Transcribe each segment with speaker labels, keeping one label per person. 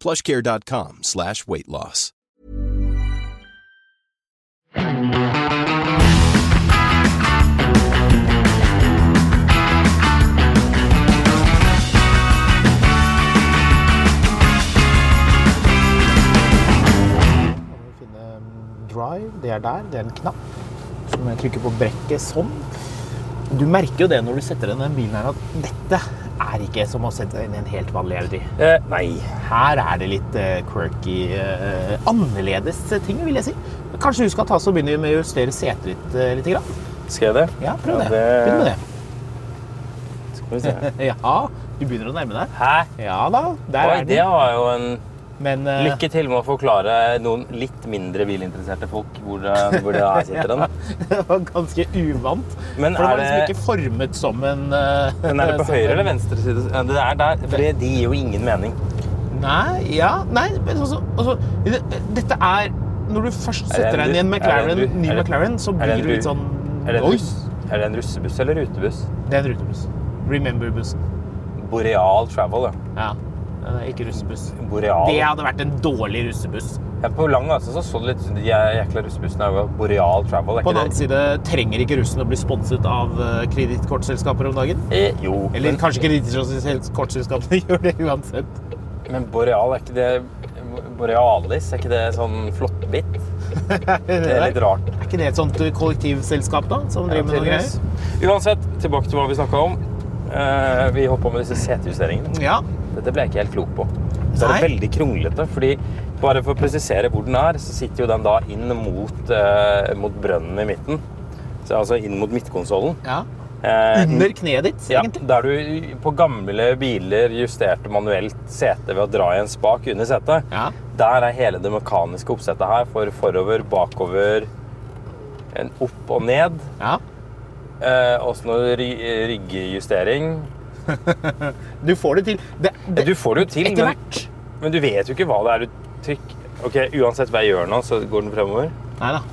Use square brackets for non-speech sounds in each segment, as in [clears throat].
Speaker 1: plushcare.com slash weight loss.
Speaker 2: Kan vi finne mm, drive. Det er der. Det er en knapp. Så må jeg trykke på brekket sånn. Du merker jo det når du setter deg inn i den bilen her, at dette er ikke som å sette deg inn i en helt vanlig Audi.
Speaker 3: Eh, nei.
Speaker 2: Her er det litt eh, quirky, eh, annerledes ting, vil jeg si. Men Kanskje du skal ta oss og begynne med å justere setet ditt eh, litt? Grann.
Speaker 3: Skal jeg det?
Speaker 2: Ja, prøv det.
Speaker 3: det-
Speaker 2: Begynn med det.
Speaker 3: Skal vi se.
Speaker 2: [laughs] Ja, du begynner å nærme deg.
Speaker 3: Hæ?
Speaker 2: Ja da, der
Speaker 3: Oi,
Speaker 2: er
Speaker 3: det
Speaker 2: den.
Speaker 3: var jo en
Speaker 2: Men eh,
Speaker 3: Lykke til med å forklare noen litt mindre bilinteresserte folk hvor, det- hvor det
Speaker 2: [laughs]
Speaker 3: er sitter den.
Speaker 2: det var ganske uvant.
Speaker 3: Men
Speaker 2: for det var
Speaker 3: er
Speaker 2: liksom
Speaker 3: det-
Speaker 2: ikke formet som en eh,
Speaker 3: Men er det på
Speaker 2: som
Speaker 3: høyre
Speaker 2: en-
Speaker 3: eller venstre side? Ja, Det er der, for det- de gir jo ingen mening.
Speaker 2: Nei, ja, nei men altså, altså, det- Dette er Når du først
Speaker 3: Er det
Speaker 2: setter
Speaker 3: en
Speaker 2: deg inn i en
Speaker 3: bu- er det en
Speaker 2: McLaren,
Speaker 3: bu-
Speaker 2: ny
Speaker 3: er det-
Speaker 2: McLaren, så
Speaker 3: er det
Speaker 2: blir
Speaker 3: en
Speaker 2: du litt
Speaker 3: bu-
Speaker 2: sånn
Speaker 3: Er det en,
Speaker 2: Oi!
Speaker 3: russ, er det en russebuss eller rutebuss?
Speaker 2: Det er en rutebuss. Remember-bussen.
Speaker 3: Boreal Travel, ja.
Speaker 2: Ja. det er Ikke russebuss.
Speaker 3: Boreal.
Speaker 2: Det hadde vært en dårlig russebuss.
Speaker 3: Ja, på lang avstand så så det litt ut som de jækla russebussene er jo Boreal Travel. Er
Speaker 2: På den
Speaker 3: ikke
Speaker 2: annen
Speaker 3: det?
Speaker 2: side trenger ikke russen å bli sponset av eh, kredittkortselskaper om dagen.
Speaker 3: Eh, jo,
Speaker 2: Eller
Speaker 3: men,
Speaker 2: kanskje kredittkortselskapene [laughs] gjør det uansett.
Speaker 3: men Boreal, er ikke det Borealis? Er ikke det sånn flåttbitt? Det er litt rart.
Speaker 2: Er ikke det et sånt eh, kollektivselskap da, som driver med noe greier?
Speaker 3: Uansett, tilbake til hva vi snakka om. Eh, vi hoppa med disse setejusteringene.
Speaker 2: Ja.
Speaker 3: Dette ble jeg ikke helt klok på. Så er det
Speaker 2: Nei.
Speaker 3: veldig kronglete. fordi Bare for å presisere hvor den er, så sitter jo den da inn mot, eh, mot brønnen i midten. Så Altså inn mot midtkonsollen.
Speaker 2: ja.
Speaker 3: Eh,
Speaker 2: Under kneet ditt,
Speaker 3: ja,
Speaker 2: egentlig.
Speaker 3: der du på gamle biler justerte manuelt setet ved å dra i en spak under setet.
Speaker 2: Ja.
Speaker 3: Der er hele det mekaniske oppsettet her for forover, bakover, en opp og ned.
Speaker 2: Ja.
Speaker 3: Eh, også noe ry ryggejustering. Eh,
Speaker 2: Du får det til. Det, det,
Speaker 3: Du får det jo til,
Speaker 2: etter
Speaker 3: men,
Speaker 2: hvert.
Speaker 3: men du vet jo ikke hva det er du trykker. Ok, Uansett hva jeg gjør nå, så går den fremover.
Speaker 2: Nei da.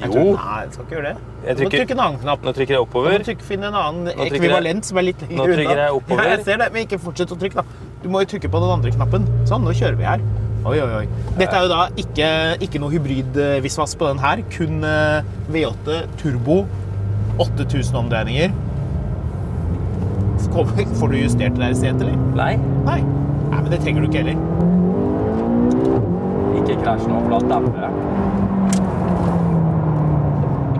Speaker 3: Jo.
Speaker 2: Nei, jeg skal ikke gjøre det.
Speaker 3: Jeg
Speaker 2: Du må
Speaker 3: trykker-
Speaker 2: trykke en annen knapp.
Speaker 3: Nå trykker jeg
Speaker 2: Du må
Speaker 3: oppover.
Speaker 2: trykke, finne en annen
Speaker 3: trykker jeg-
Speaker 2: ekvivalent som er litt lenger unna.
Speaker 3: trykker jeg oppover.
Speaker 2: Ja, jeg ser det, men ikke fortsett å trykke, da. Du må jo trykke på den andre knappen. Sånn, nå kjører vi her. Oi, oi, oi. Dette er jo da ikke, ikke noe hybrid-visvas på den her. Kun eh, V8 turbo. 8000 omdreininger. Kom- Får du justert det der setet, eller?
Speaker 3: Nei,
Speaker 2: Nei. Nei, men det trenger du ikke heller.
Speaker 3: ikke krasj nå, for da damper jeg.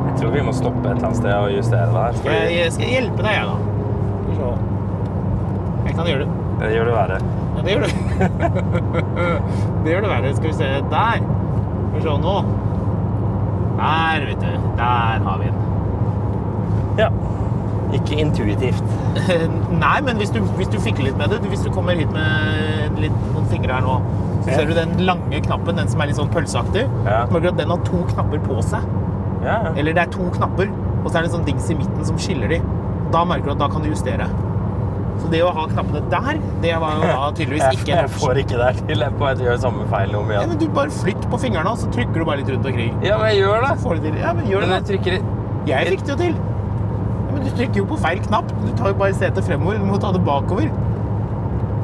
Speaker 3: Jeg tror vi må stoppe et eller annet sted og justere det her.
Speaker 2: Skal jeg,
Speaker 3: fordi
Speaker 2: jeg skal hjelpe deg, jeg, da. Skal vi se. Jeg kan gjøre det.
Speaker 3: Det gjør det verre.
Speaker 2: Ja, det gjør du. [laughs] det gjør det verre. Skal vi se. Der. Skal vi se nå. Der, vet du. Der har vi den. [laughs]
Speaker 3: Ja. Ikke intuitivt.
Speaker 2: Nei, men hvis du, hvis du fikler litt med det, hvis du kommer hit med litt, noen fingre her nå, så
Speaker 3: Ja.
Speaker 2: ser du den lange knappen, den som er litt sånn pølseaktig.
Speaker 3: Ja.
Speaker 2: Merker du at den har to knapper på seg.
Speaker 3: Ja.
Speaker 2: Eller det er to knapper, og så er det en sånn dings i midten som skiller de. Da merker du at da kan du justere. Så det å ha knappene der, det var jo da tydeligvis
Speaker 3: Jeg,
Speaker 2: ikke
Speaker 3: jeg
Speaker 2: en
Speaker 3: får ikke det her til. Jeg får- jeg gjør samme feil om
Speaker 2: Ja,
Speaker 3: igjen.
Speaker 2: men du bare flytt på fingrene, og så trykker du bare litt rundt omkring.
Speaker 3: Ja, men jeg gjør
Speaker 2: Da
Speaker 3: det.
Speaker 2: får du til. Ja, men gjør
Speaker 3: Men
Speaker 2: det.
Speaker 3: jeg
Speaker 2: da.
Speaker 3: trykker
Speaker 2: Jeg fikk det jo til. Ja, men du trykker jo på feil knapp. Du tar jo bare setet fremover. Du må ta det bakover.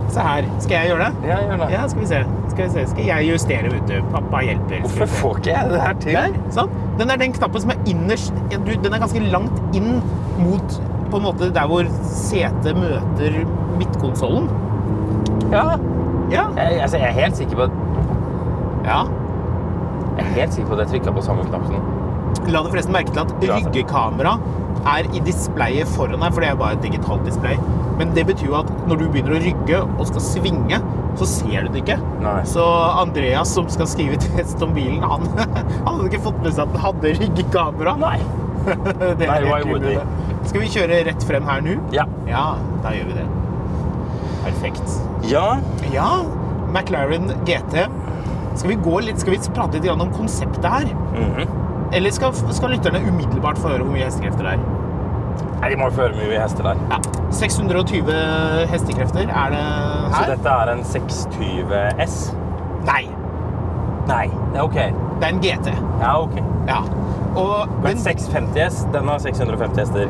Speaker 2: Se her. Skal jeg gjøre det?
Speaker 3: Ja, jeg gjør det.
Speaker 2: Ja, skal vi se. Skal, vi se. skal jeg justere, vet du. Pappa hjelper. Skal vi
Speaker 3: Hvorfor
Speaker 2: se.
Speaker 3: får ikke jeg det her til?
Speaker 2: Der, sånn. Den er den knappen som er innerst ja, du, Den er ganske langt inn mot på en måte der hvor setet møter midtkonsollen.
Speaker 3: Ja.
Speaker 2: Ja.
Speaker 3: Jeg, altså, jeg er helt sikker på at
Speaker 2: ja.
Speaker 3: Jeg er helt sikker på at jeg trykka på samme knapp som den.
Speaker 2: La deg forresten merke til at
Speaker 3: Ja, altså.
Speaker 2: ryggekamera er i displayet foran deg, for det er bare et digitalt display. Men det betyr jo at når du begynner å rygge og skal svinge, så ser du det ikke.
Speaker 3: Nei.
Speaker 2: Så Andreas, som skal skrive test om bilen, han, [laughs] han hadde ikke fått med seg at den hadde ryggekamera.
Speaker 3: Nei.
Speaker 2: [laughs] Det er
Speaker 3: Nei,
Speaker 2: helt
Speaker 3: why would
Speaker 2: umulig. Skal vi kjøre rett frem her nå?
Speaker 3: Ja.
Speaker 2: Ja, da gjør vi det. Perfekt.
Speaker 3: ja.
Speaker 2: Ja, McLaren GT. Skal vi gå litt, skal vi prate litt grann om konseptet her?
Speaker 3: Mhm.
Speaker 2: Eller skal, skal lytterne umiddelbart få høre hvor mye hestekrefter det er?
Speaker 3: Nei, de må jo føre mye hester der.
Speaker 2: Ja. 620 hestekrefter er det
Speaker 3: Så
Speaker 2: her.
Speaker 3: dette er en 620 S?
Speaker 2: Nei,
Speaker 3: Nei. Det er ok.
Speaker 2: det er en GT.
Speaker 3: Ja, ok.
Speaker 2: Ja. Og
Speaker 3: Men
Speaker 2: den
Speaker 3: 650 S, den har 650 hester.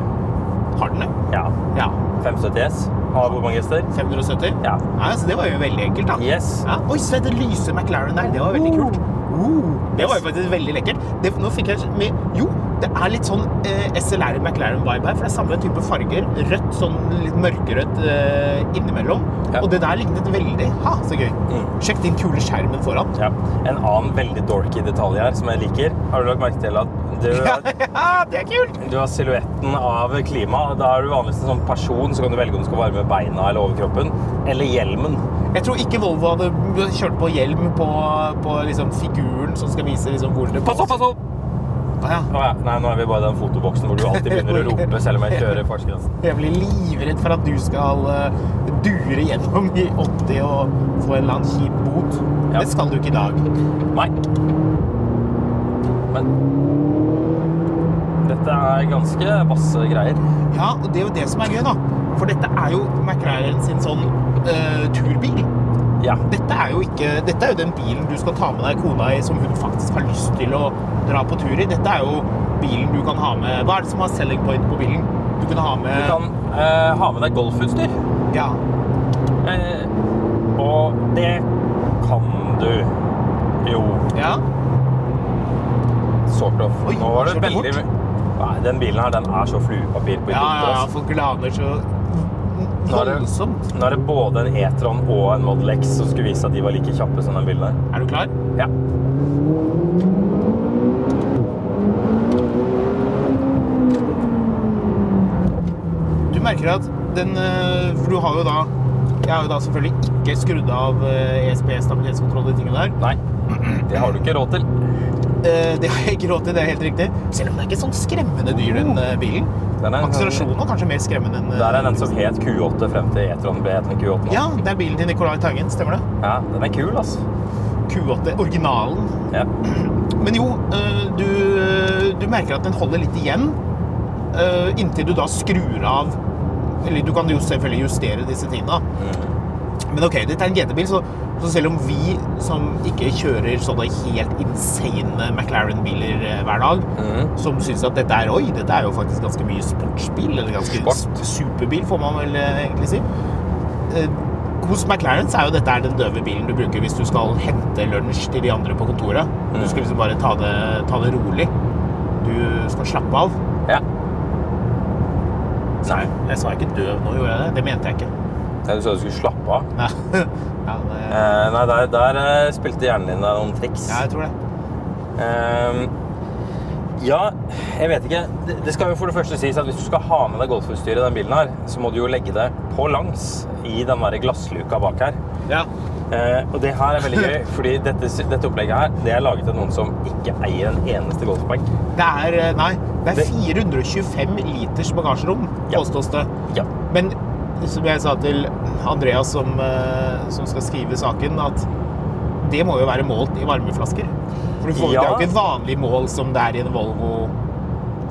Speaker 2: har den det.
Speaker 3: Ja.
Speaker 2: Ja.
Speaker 3: 570 S har hvor mange hester?
Speaker 2: 570.
Speaker 3: Ja.
Speaker 2: Nei, så det var jo veldig enkelt, da.
Speaker 3: Yes.
Speaker 2: Ja. Oi, se det lyse McLaren der. Det var
Speaker 3: Oh.
Speaker 2: veldig kult. Oh, Det var jo
Speaker 3: Yes.
Speaker 2: faktisk veldig lekkert. Det, nå fikk jeg med, Jo, det er litt sånn eh, SLR McLaren-vibe her, for det er samme type farger. Rødt, sånn litt mørkerødt eh, innimellom.
Speaker 3: Ja.
Speaker 2: Og det der lignet veldig. Ha, så gøy.
Speaker 3: Mm.
Speaker 2: Sjekk den kule skjermen foran.
Speaker 3: Ja. En annen veldig dorky detalj her som jeg liker. Har du lagt merke til at du,
Speaker 2: [laughs] ja, det er kult!
Speaker 3: du har silhuetten av klima? Da er du vanligvis en sånn person, så kan du velge om du skal varme beina eller overkroppen. Eller hjelmen.
Speaker 2: Jeg tror ikke Volvo hadde kjørt på hjelm på, på liksom figuren som skal vise liksom hvor det
Speaker 3: Pass opp, pass opp!
Speaker 2: Ah, ja.
Speaker 3: Å ja. Nei, nå er vi bare i den fotoboksen hvor du alltid begynner å rope selv om jeg kjører fartsgrensen.
Speaker 2: Jeg blir livredd for at du skal eh, dure gjennom i 80 og få en eller annen kjip bot.
Speaker 3: Ja.
Speaker 2: Det skal du ikke i dag.
Speaker 3: Nei. Men dette er ganske vasse greier.
Speaker 2: Ja, og det er jo det som er gøy, da. For dette er jo McLaren sin sånn eh, turbil.
Speaker 3: Ja.
Speaker 2: Dette er, jo ikke, dette er jo den bilen du skal ta med deg kona i som hun faktisk har lyst til å dra på tur i. Dette er jo bilen du kan ha med Hva er det som har selling point på bilen? Du kan ha med
Speaker 3: Du kan eh, ha med deg golfutstyr.
Speaker 2: Ja.
Speaker 3: Eh, og det kan du jo
Speaker 2: ja.
Speaker 3: sort of.
Speaker 2: Oi,
Speaker 3: Nå var det
Speaker 2: kjørte du
Speaker 3: veldig Nei, den bilen her, den er så fluepapir på
Speaker 2: Ja, ja, ja,
Speaker 3: idiotet.
Speaker 2: folk glaner så
Speaker 3: Nå er det-
Speaker 2: voldsomt.
Speaker 3: Nå er det både en E-tron og en Model X som skulle vise at de var like kjappe som den bilen
Speaker 2: Er du klar?
Speaker 3: der. Ja.
Speaker 2: Du merker at den eh, For du har jo da Jeg har jo da selvfølgelig ikke skrudd av eh, ESP, stabilitetskontroll, de tingene der.
Speaker 3: Nei, det har du ikke råd til.
Speaker 2: Eh, Det har jeg ikke råd til, det er helt riktig. Selv om det er ikke sånn skremmende dyr, den eh, bilen.
Speaker 3: Den er-
Speaker 2: Akselerasjonen var kanskje mer skremmende enn eh,
Speaker 3: Der er den som het Q8 frem til E-tron ble hetende Q8 nå.
Speaker 2: Ja, det er bilen til Nicolai Tangen, stemmer det?
Speaker 3: Ja, den er kul, altså.
Speaker 2: Q8, originalen.
Speaker 3: Ja.
Speaker 2: Men jo, eh, du, eh, du merker at den holder litt igjen eh, inntil du da skrur av Eller du kan jo selvfølgelig justere disse tingene, da. Men ok, dette er en GT-bil, så, så selv om vi som ikke kjører sånne helt insane McLaren-biler eh, hver dag,
Speaker 3: Mhm.
Speaker 2: som syns at dette er Oi, dette er jo faktisk ganske mye sportsbil. Eller ganske
Speaker 3: Sport.
Speaker 2: superbil, får man vel eh, egentlig si. Eh, Hos McLaren så er jo dette her den døve bilen du bruker hvis du skal hente lunsj til de andre på kontoret. Du skal liksom bare ta det, ta det rolig. Du skal slappe av.
Speaker 3: ja. Nei,
Speaker 2: Jeg sa ikke døv nå, gjorde jeg det? Det mente jeg ikke.
Speaker 3: jeg sa du skulle slappe av.
Speaker 2: [laughs] Ja, ja, det,
Speaker 3: Eh, nei, der, der eh, spilte hjernen din deg noen triks.
Speaker 2: ja jeg tror det.
Speaker 3: Ehm, ja, jeg vet ikke. Det, det skal jo for det første sies at hvis du skal ha med deg golfutstyret i den bilen her, så må du jo legge det på langs i den der glassluka bak her.
Speaker 2: Ja.
Speaker 3: Eh, og det her er veldig [laughs] gøy, fordi dette, dette opplegget her, det er laget av noen som ikke eier en eneste golfbag.
Speaker 2: Det er eh, Nei, det er
Speaker 3: Det-
Speaker 2: 425 liters bagasjerom,
Speaker 3: Ja.
Speaker 2: påstås det.
Speaker 3: Ja.
Speaker 2: Men som jeg sa til Andreas, som, eh, som skal skrive saken, at det må jo være målt i varmeflasker. For du får, Det er
Speaker 3: Ja.
Speaker 2: jo ikke et vanlig mål som det er i en Volvo.
Speaker 3: Nei,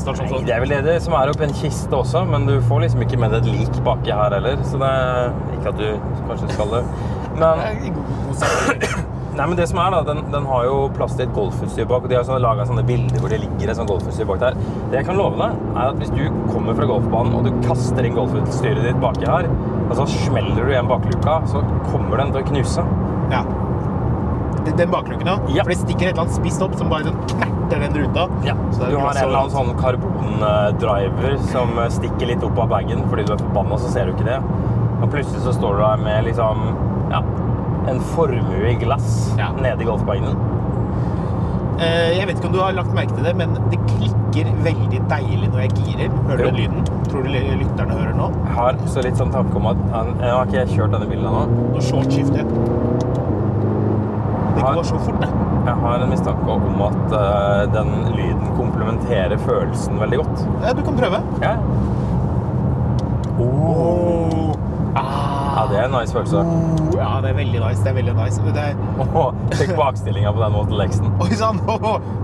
Speaker 2: stasjonsvogn.
Speaker 3: det er vel det det som er oppi en kiste også, men du får liksom ikke med deg et lik baki her heller, så det er ikke at du kanskje skal det. Men,
Speaker 2: Eh, god sak.
Speaker 3: nei, men det som er da, den, den har jo plass til et golfutstyr bak, og de har sånn, laget sånne bilder hvor det ligger et sånt golfutstyr bak der. Det jeg kan love deg, er at hvis du kommer fra golfbanen og du kaster inn golfutstyret ditt baki her, og så smeller du igjen bakluka, så kommer den til å knuse.
Speaker 2: Ja. Den- Den bakluken, ja.
Speaker 3: Ja.
Speaker 2: For det stikker et eller annet spisst opp som bare sånn knerter den ruta. Så det er
Speaker 3: Du har en
Speaker 2: glass
Speaker 3: eller annen
Speaker 2: overalt.
Speaker 3: sånn karbondriver som eh, stikker litt opp av bagen fordi du er forbanna, så ser du ikke det. Og plutselig så står du der med liksom ja, en formue i glass
Speaker 2: Ja.
Speaker 3: nede i golfbagen.
Speaker 2: Eh, Jeg vet ikke om du har lagt merke til det, men det klikker veldig deilig når jeg girer. Hører du
Speaker 3: Jo.
Speaker 2: lyden? Tror du ly- lytterne hører nå?
Speaker 3: Jeg har så litt sånn tanke om at han, jeg har ikke kjørt denne bilen ennå.
Speaker 2: Nå shortskifter. Det
Speaker 3: Har-
Speaker 2: går så fort, det.
Speaker 3: Jeg har en mistanke om at eh, den lyden komplementerer følelsen veldig godt.
Speaker 2: Ja, Du kan prøve.
Speaker 3: Ja, ja
Speaker 2: Ah,
Speaker 3: det er en nice følelse.
Speaker 2: ja, det er veldig nice. Det er veldig nice. Det er,
Speaker 3: Åh, Tenk bakstillinga på den Model X-en.
Speaker 2: oi sann!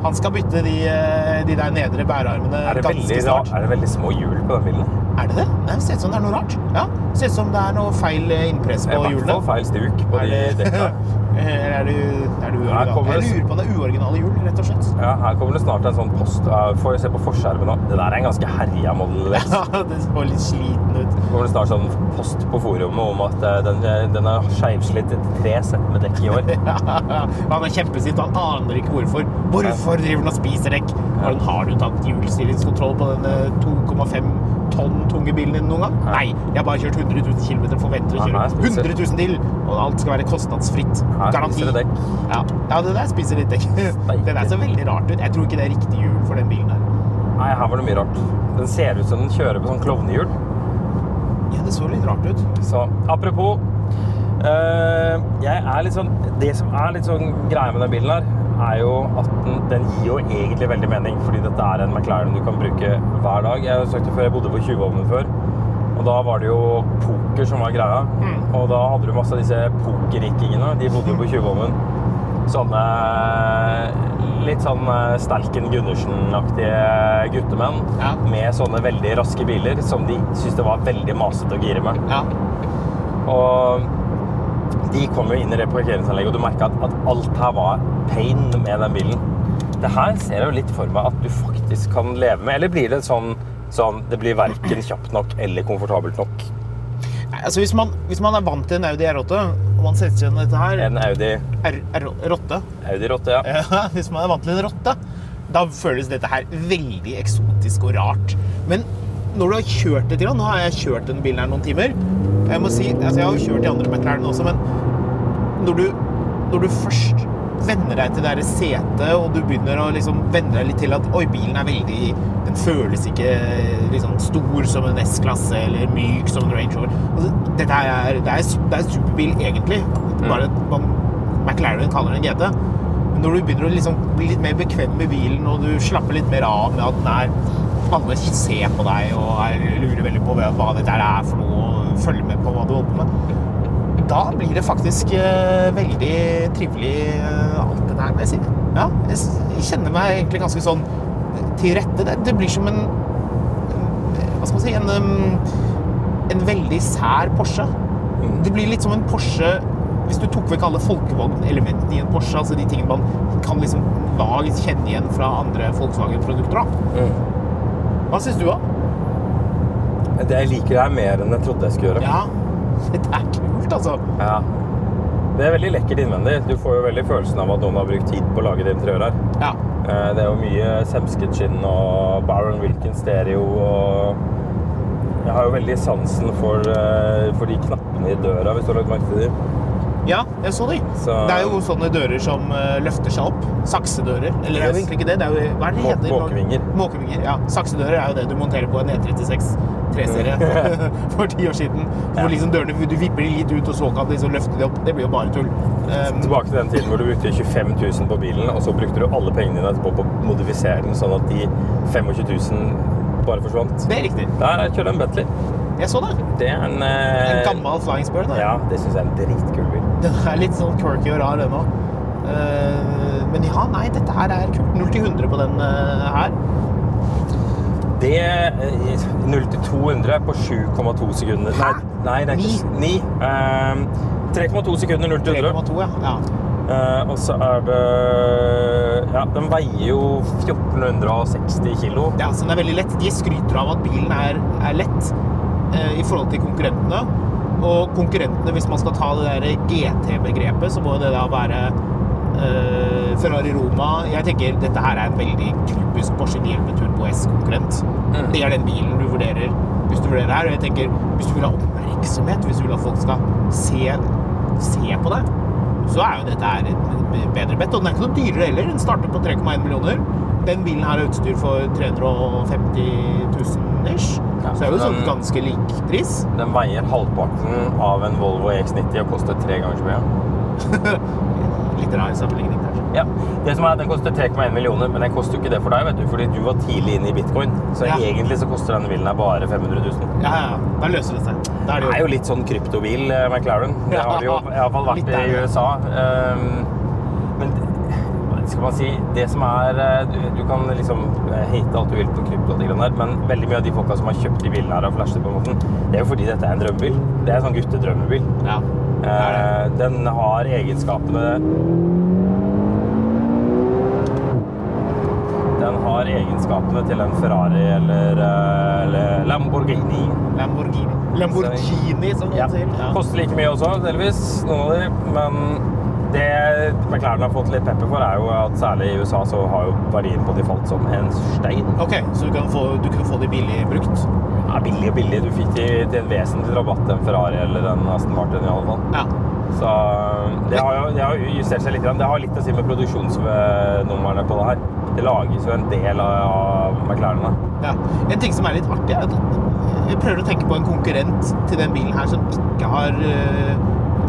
Speaker 2: Han [laughs] skal bytte de, eh, de der nedre bærarmene
Speaker 3: Er det, veldig,
Speaker 2: ganske
Speaker 3: rar-
Speaker 2: snart.
Speaker 3: er det veldig små hjul på den bilen?
Speaker 2: Er det det? Nei, det ser ut som det er noe rart. Ja, Ser ut som det er noe feil eh, innpress
Speaker 3: Det
Speaker 2: på
Speaker 3: er I hvert
Speaker 2: hjulene.
Speaker 3: fall feil stuk på de
Speaker 2: Er det,
Speaker 3: dekka.
Speaker 2: [laughs] Eller er det, er det
Speaker 3: Her
Speaker 2: uoriginal-
Speaker 3: kommer
Speaker 2: Jeg
Speaker 3: det-
Speaker 2: lurer på om det er uoriginale hjul, rett og slett. [laughs]
Speaker 3: Ja, her kommer det snart en sånn post. eh, Får se på forskjermen nå. Det der er en ganske herja Model X.
Speaker 2: det så litt sliten ut.
Speaker 3: Så kommer det snart sånn post på forumet om at eh, den, den er skeivslitt etter tre sett med dekk i
Speaker 2: [laughs]
Speaker 3: år.
Speaker 2: han er kjempesint, han aner ikke hvorfor. Hvorfor driver han og spiser dekk? Hvordan har du tatt hjulstillingskontroll på den eh, 2,5 tonn tunge bilen din noen gang?
Speaker 3: Ja.
Speaker 2: Nei, jeg har bare kjørt 100 000 km, forventer å
Speaker 3: Ja,
Speaker 2: kjøre
Speaker 3: nei, jeg spiser-
Speaker 2: 100 000 til, og alt skal være kostnadsfritt.
Speaker 3: Her
Speaker 2: Garanti.
Speaker 3: spiser det dekk.
Speaker 2: Ja. ja, det der spiser litt dekk. [laughs] Det der så veldig rart ut. Jeg tror ikke det er riktig hjul for den bilen her.
Speaker 3: Nei, her var det mye rart. Den ser ut som den kjører på sånn klovnehjul.
Speaker 2: Ja, det så litt rart ut.
Speaker 3: Så apropos eh, jeg er litt sånn, Det som er litt sånn greia med den bilen her, er jo at den, den gir jo egentlig veldig mening, fordi dette er en McLaren du kan bruke hver dag. Jeg søkte før jeg bodde på Tjuvholmen før, og da var det jo poker som var greia.
Speaker 2: Mm.
Speaker 3: Og da hadde du masse av disse pokerrikingene. De bodde jo på Tjuvholmen. Sånne litt sånn eh, Sterken Gundersen-aktige guttemenn
Speaker 2: Ja.
Speaker 3: med sånne veldig raske biler som de syntes det var veldig masete å gire med.
Speaker 2: Ja.
Speaker 3: Og de kom jo inn i det parkeringsanlegget, og du merka at, at alt her var pain med den bilen. Det her ser jeg jo litt for meg at du faktisk kan leve med. Eller blir det sånn, sånn Det blir verken kjapt nok eller komfortabelt nok.
Speaker 2: Nei, Altså, hvis, man, hvis man er vant til en Audi R8, og man setter seg inn i dette her
Speaker 3: En Audi,
Speaker 2: R, R, Rotte.
Speaker 3: Audi Rotte, ja.
Speaker 2: Ja, hvis man er vant til en rotte, da føles dette her veldig eksotisk og rart. Men når du har kjørt litt, grann- nå har jeg kjørt denne bilen her noen timer Jeg må si, altså jeg har jo kjørt i andre McLaren også, men når du, når du først venner deg til det der setet, og du begynner å liksom venne deg litt til at oi, bilen er veldig Den føles ikke liksom stor som en S-klasse eller myk som en Range Rover. Altså, dette her er, det er, det er en superbil, egentlig. Bare at man, McLaren kaller den GT. Men når du begynner å liksom bli litt mer bekvem med bilen, og du slapper litt mer av med at den er alle ser på deg og er, lurer veldig på hva dette her er for noe, og følger med på hva du holder på med. Da blir det faktisk eh, veldig trivelig, eh, alt det der, må jeg si. Ja, jeg s- jeg kjenner meg egentlig ganske sånn til rette. Det, det blir som en Hva skal man si En, em, en veldig sær Porsche. Det blir litt som en Porsche Hvis du tok vekk alle folkevognelementene i en Porsche, altså de tingene man kan liksom la litt kjenne igjen fra andre Volkswagen-produkter. da. Hva syns du, da?
Speaker 3: Det jeg liker her mer enn jeg trodde jeg skulle gjøre.
Speaker 2: Ja, [laughs] det er kult, altså.
Speaker 3: Ja. Det er veldig lekkert innvendig. Du får jo veldig følelsen av at noen har brukt tid på å lage det interiøret her.
Speaker 2: Ja.
Speaker 3: Eh, Det er jo mye semsket skinn og Baron Wilkins stereo og Jeg har jo veldig sansen for, eh, for de knappene i døra, hvis du har lagt merke til dem.
Speaker 2: ja, jeg så de.
Speaker 3: Så-
Speaker 2: Det er jo sånne dører som eh, løfter seg opp. Saksedører. Eller det er jo
Speaker 3: Yes.
Speaker 2: egentlig ikke det. det er jo, hva er det
Speaker 3: Må-
Speaker 2: det heter?
Speaker 3: måkevinger.
Speaker 2: Måkevinger, ja. Saksedører er jo det du monterer på en E36 3-serie [laughs]
Speaker 3: [laughs]
Speaker 2: for ti år siden. Hvor
Speaker 3: Mm. Ja.
Speaker 2: liksom dørene, Du vipper de litt ut, og så kan du liksom løfte de opp. Det blir jo bare tull. Um,
Speaker 3: Tilbake til den tiden hvor du brukte 25 000 på bilen, og så brukte du alle pengene dine etterpå på å modifisere den, sånn at de 25 000 bare forsvant.
Speaker 2: det er riktig.
Speaker 3: Der kjører jeg en Bentley.
Speaker 2: Jeg så det.
Speaker 3: Det er en
Speaker 2: En
Speaker 3: eh,
Speaker 2: gammel Flying Spur. da.
Speaker 3: Ja, det syns jeg er en dritkul bil.
Speaker 2: Den er litt sånn quirky og rar, den òg. Men ja, nei, dette her er kult. 0 til 100 på den eh, her.
Speaker 3: Det eh, 0 til 200 på 7,2 sekunder. Nei,
Speaker 2: Hæ?
Speaker 3: nei, det er ikke Ehm, 9. 3,2 sekunder 0 til 100.
Speaker 2: 3,2, ja. ja.
Speaker 3: Eh, og så er det Ja, den veier jo 1460 kilo.
Speaker 2: Ja, så den er veldig lett. De skryter av at bilen er, er lett eh, i forhold til konkurrentene. Og konkurrentene, hvis man skal ta det der GT-begrepet, så må jo det da være eh, Ferrari Roma. Jeg tenker dette her er en veldig typisk Porsche 911 Turbo S-konkurrent.
Speaker 3: Mm.
Speaker 2: Det er den bilen du vurderer hvis du vurderer her. Og jeg tenker, hvis du vil ha oppmerksomhet, hvis du vil at folk skal se, se på deg, så er jo dette her et bedre bett. Og den er ikke noe dyrere heller. Den starter på 3,1 millioner. Den bilen her har utstyr for 350 000 ish.
Speaker 3: Ja,
Speaker 2: så det er jo
Speaker 3: så
Speaker 2: sånn
Speaker 3: den-
Speaker 2: ganske lik pris.
Speaker 3: Den veier halvparten av en Volvo EX90 og koster tre ganger så mye.
Speaker 2: Litt rar sammenligning der.
Speaker 3: Ja, det som er at Den koster 3,1 millioner, men den koster jo ikke det for deg, vet du, fordi du var tidlig inne i bitcoin. Så
Speaker 2: Ja.
Speaker 3: egentlig så koster denne bilen her bare 500 000.
Speaker 2: Ja, ja, ja. Da løser det seg. Da er
Speaker 3: Det
Speaker 2: det
Speaker 3: er
Speaker 2: jo
Speaker 3: jo litt sånn kryptobil, eh, McLaren. Det har det jo i hvert fall vært
Speaker 2: Litt
Speaker 3: i
Speaker 2: der, ja.
Speaker 3: USA. Ehm, Men hva skal man si Det som er eh, Du, du kan liksom eh, hate alt du vil på krypto, og de greiene der, men veldig mye av de folka som har kjøpt de bilene her og flashet på den måten, det er jo fordi dette er en drømmebil. Det er en sånn guttedrømmebil.
Speaker 2: ja.
Speaker 3: Eh, Den har egenskapene Den har egenskapene til en Ferrari eller, eh, eller Lamborghini.
Speaker 2: Lamborghini. Lamborghini, som
Speaker 3: Eh, Ja.
Speaker 2: noen sier. Ja.
Speaker 3: Koster like mye også, delvis, noen av de. Men det McLaren har fått litt pepper for, er jo at særlig i USA så har jo verdien på de falt som en stein.
Speaker 2: Ok, så du, kan få, du kunne få de billig brukt?
Speaker 3: Ja, billig og billig. Du fikk de til en vesentlig rabatt, en Ferrari eller en Aston Martin i alle fall.
Speaker 2: Ja.
Speaker 3: Så eh, det har jo det har jo justert seg litt. grann. Det har litt å si med produksjonsnumrene på det her. Det lages jo en del av- av McLarene.
Speaker 2: ja. En ting som er litt artig, er at jeg prøver å tenke på en konkurrent til den bilen her som ikke har eh,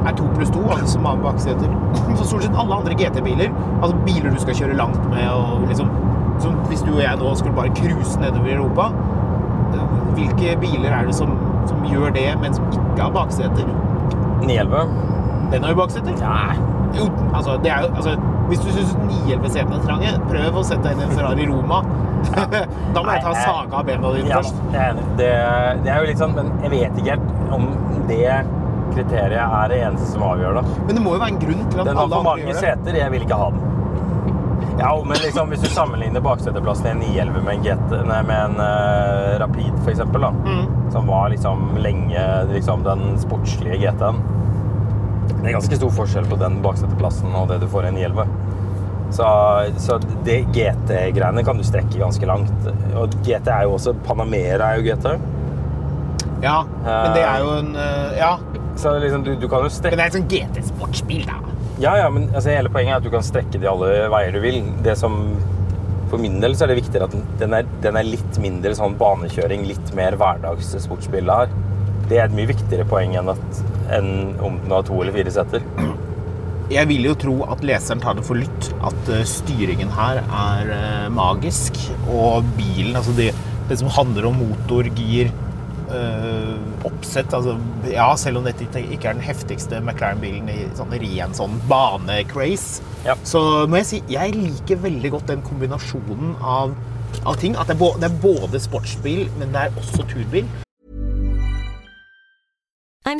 Speaker 2: er to pluss to, altså som har bakseter. For stort sett alle andre GT-biler, altså biler du skal kjøre langt med og liksom som Hvis du og jeg nå skulle bare cruise nedover i Europa, eh, hvilke biler er det som, som gjør det, men som ikke har bakseter?
Speaker 3: Nielve?
Speaker 2: Den har jo bakseter.
Speaker 3: Nei.
Speaker 2: Jo, altså, det er jo, altså Hvis du syns 911-setene er trange, prøv å sette deg inn i en Ferrari Roma. [laughs] da må jeg ta saga av bena dine
Speaker 3: Ja,
Speaker 2: først.
Speaker 3: jeg er enig. Det, det er jo litt sånn, men jeg vet ikke helt om det kriteriet er det eneste som avgjør det.
Speaker 2: Men det må jo være en grunn til at
Speaker 3: Den har
Speaker 2: alle
Speaker 3: for
Speaker 2: andre
Speaker 3: mange
Speaker 2: gjør det.
Speaker 3: seter, jeg vil ikke ha den. Ja, men liksom, hvis du sammenligner bakseteplassen i en 911 med en, GT, nei, med en eh, Rapid, for eksempel, da,
Speaker 2: Mm.
Speaker 3: som var liksom lenge liksom, den sportslige GT-en Det er ganske stor forskjell på den bakseteplassen og det du får i en 911. Så, så det GT-greiene kan du strekke ganske langt. Og GT er jo også Panamera er jo GT.
Speaker 2: Ja, men det er jo en eh, Ja.
Speaker 3: Så liksom, du, du kan jo
Speaker 2: Men
Speaker 3: strekke
Speaker 2: det er et sånn GT-sportsbil, da.
Speaker 3: Ja, ja, men altså, hele poenget er at du kan strekke det i alle veier du vil. Det som For min del så er det viktigere at den- den er, den er litt mindre sånn banekjøring, litt mer hverdagssportsbil det har. Det er et mye viktigere poeng enn, at, enn om den har to eller fire seter.
Speaker 2: Jeg vil jo tro at leseren tar det for lytt. At eh, styringen her er eh, magisk. Og bilen, altså det, det som handler om motor, gir, eh, oppsett altså, Ja, selv om dette ikke ikke er den heftigste McLaren-bilen i sånn ren sånn bane-craze,
Speaker 3: Ja.
Speaker 2: så må jeg si jeg liker veldig godt den kombinasjonen av, av ting. At det er, bå- det er både sportsbil, men det er også turbil.
Speaker 4: I'm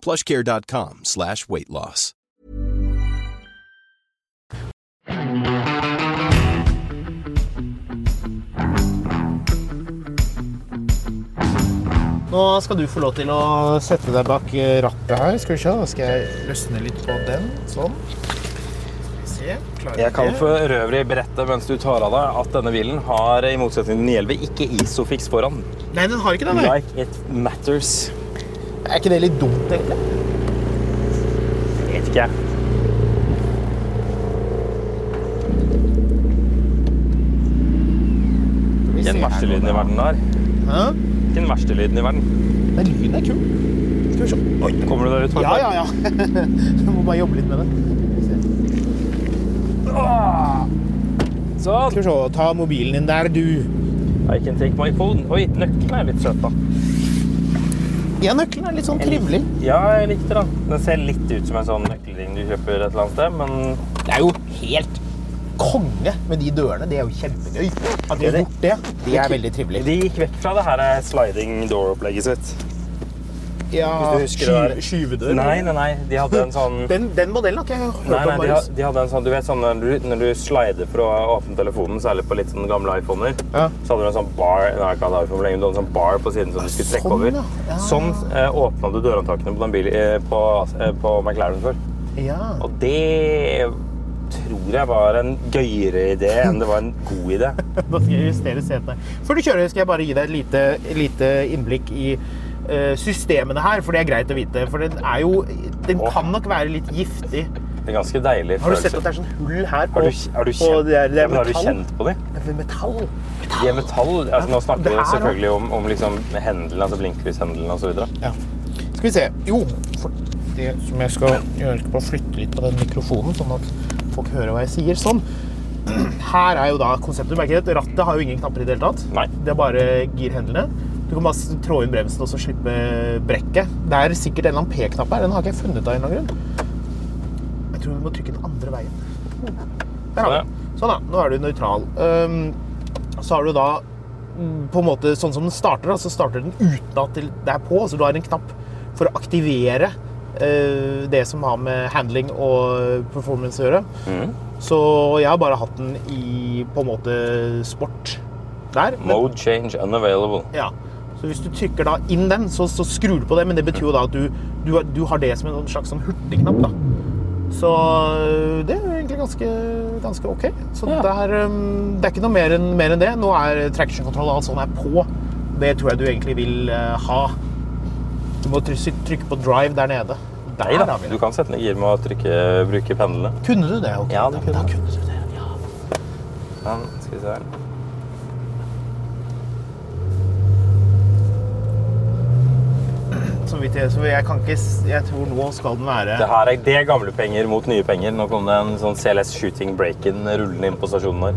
Speaker 1: plushcare.com slash weight loss.
Speaker 2: Nå skal du få lov til å sette deg bak eh, rattet her. Skal vi se, da skal jeg løsne litt på den. Sånn. Skal vi se. Klarer
Speaker 3: Jeg kan
Speaker 2: det?
Speaker 3: for øvrig berette mens du tar av deg at denne bilen har i motsetning til 911 ikke Isofix foran.
Speaker 2: Nei, den har ikke den, nei.
Speaker 3: Like it matters.
Speaker 2: Er ikke det litt dumt, egentlig?
Speaker 3: Vet ikke jeg.
Speaker 2: Skal vi
Speaker 3: Ikke den
Speaker 2: se her
Speaker 3: verste
Speaker 2: nå,
Speaker 3: lyden i
Speaker 2: da.
Speaker 3: verden der.
Speaker 2: Hæ?
Speaker 3: Ikke den verste lyden i verden.
Speaker 2: Men lyden er kul. Skal vi se. Oi.
Speaker 3: Kommer du deg ut? Mark?
Speaker 2: Ja, [laughs] ja, ja. Du må bare jobbe litt med det. Skal vi se. Åh!
Speaker 3: Sånn.
Speaker 2: Skal vi se, ta mobilen din der, du.
Speaker 3: I can take my phone. Oi, nøkkelen er litt søt, da.
Speaker 2: Ja, nøkkelen er litt sånn trivelig.
Speaker 3: Ja, jeg likte den. Den ser litt ut som en sånn nøkkelring du kjøper et eller annet sted, men
Speaker 2: Det er jo helt konge med de dørene. Det er jo kjempegøy. At de har
Speaker 3: Det er
Speaker 2: gjort det, det er veldig trivelig.
Speaker 3: de gikk vekk fra det her eh, sliding door-opplegget sitt.
Speaker 2: Ja,
Speaker 3: Hvis du husker det der.
Speaker 2: skyve- skyvedør.
Speaker 3: Nei, nei, nei. De hadde en sånn
Speaker 2: Den, den modellen har ikke jeg hørt
Speaker 3: Nei, nei,
Speaker 2: om.
Speaker 3: de,
Speaker 2: Marius.
Speaker 3: ha- de hadde en sånn, du vet sånn når du, når du slider for å åpne telefonen, særlig på litt sånn gamle iPhoner,
Speaker 2: Ja.
Speaker 3: så hadde du en sånn bar nei, jeg kan ha iPhone for lenge, men du hadde en sånn bar på siden som du skulle trekke
Speaker 2: Sånn,
Speaker 3: over.
Speaker 2: ja. Ja.
Speaker 3: Sånn eh, åpna du dørhåndtakene på, den bil, eh, på, eh, på McLaren før.
Speaker 2: Ja. [laughs]
Speaker 3: Og det tror jeg var en gøyere idé enn det var en god idé.
Speaker 2: Da skal jeg justere setene. Før du kjører, skal jeg bare gi deg et lite, lite innblikk i eh, systemene her, for det er greit å vite. For den er jo Den
Speaker 3: Åh.
Speaker 2: kan nok være litt giftig.
Speaker 3: Det er ganske deilig
Speaker 2: Har du sett
Speaker 3: følelse.
Speaker 2: at det er sånn hull her?
Speaker 3: Har
Speaker 2: og-
Speaker 3: du, har du
Speaker 2: og
Speaker 3: kjent,
Speaker 2: det er, det er
Speaker 3: men har du
Speaker 2: metall.
Speaker 3: kjent på dem?
Speaker 2: Det er metall.
Speaker 3: De er metall. Altså, nå
Speaker 2: det
Speaker 3: snakker
Speaker 2: er
Speaker 3: vi
Speaker 2: det.
Speaker 3: selvfølgelig om, om liksom hendelen, altså blinklyshendelen og så videre.
Speaker 2: Ja. Skal vi se. Jo, for det som jeg skal gjøre, jeg skal bare flytte litt på den mikrofonen, sånn at folk hører hva jeg sier. Sånn. Her er jo da konseptet. du merker det, Rattet har jo ingen knapper i det hele tatt.
Speaker 3: Nei.
Speaker 2: Det er bare girhendlene. Du kan bare s- trå inn bremsen og så slippe brekket. Det er sikkert en eller annen P-knapp her. Den har ikke jeg funnet av en eller annen grunn. Jeg tror du må trykke den andre veien. Der har vi den. Sånn, da. Nå er du nøytral. Ehm, så har du da mm, på en måte sånn som den starter, da, så starter den uten at det er på. Så du har en knapp for å aktivere eh, det som har med handling og performance å gjøre. Så jeg har bare hatt den i på en måte sport der. men-
Speaker 3: Mode change unavailable.
Speaker 2: ja. Så hvis du trykker da inn den, så, så skrur du på det, men det betyr jo da at du, du, har- du har det som en slags sånn hurtigknapp, da. Så øh, det er jo egentlig ganske, ganske ok. Så det, er, um, det er ikke noe mer enn, mer enn det. Nå er traction-kontroll og alt sånt er på. Det tror jeg du egentlig vil eh, ha. Du må try- trykke på drive der nede. Der
Speaker 3: Nei da,
Speaker 2: har vi
Speaker 3: du
Speaker 2: det.
Speaker 3: kan sette ned gir med å trykke, bruke pendlene.
Speaker 2: Kunne du det? ok?
Speaker 3: Ja, det
Speaker 2: Da-
Speaker 3: kunne
Speaker 2: da
Speaker 3: jeg.
Speaker 2: kunne du det. Ja.
Speaker 3: Men, skal vi se her.
Speaker 2: Så vidt jeg, så jeg kan ikke s- Jeg tror nå skal den være
Speaker 3: Det her er det er gamle penger mot nye penger. Nå kom det en sånn CLS Shooting Break-in rullende inn på stasjonen her.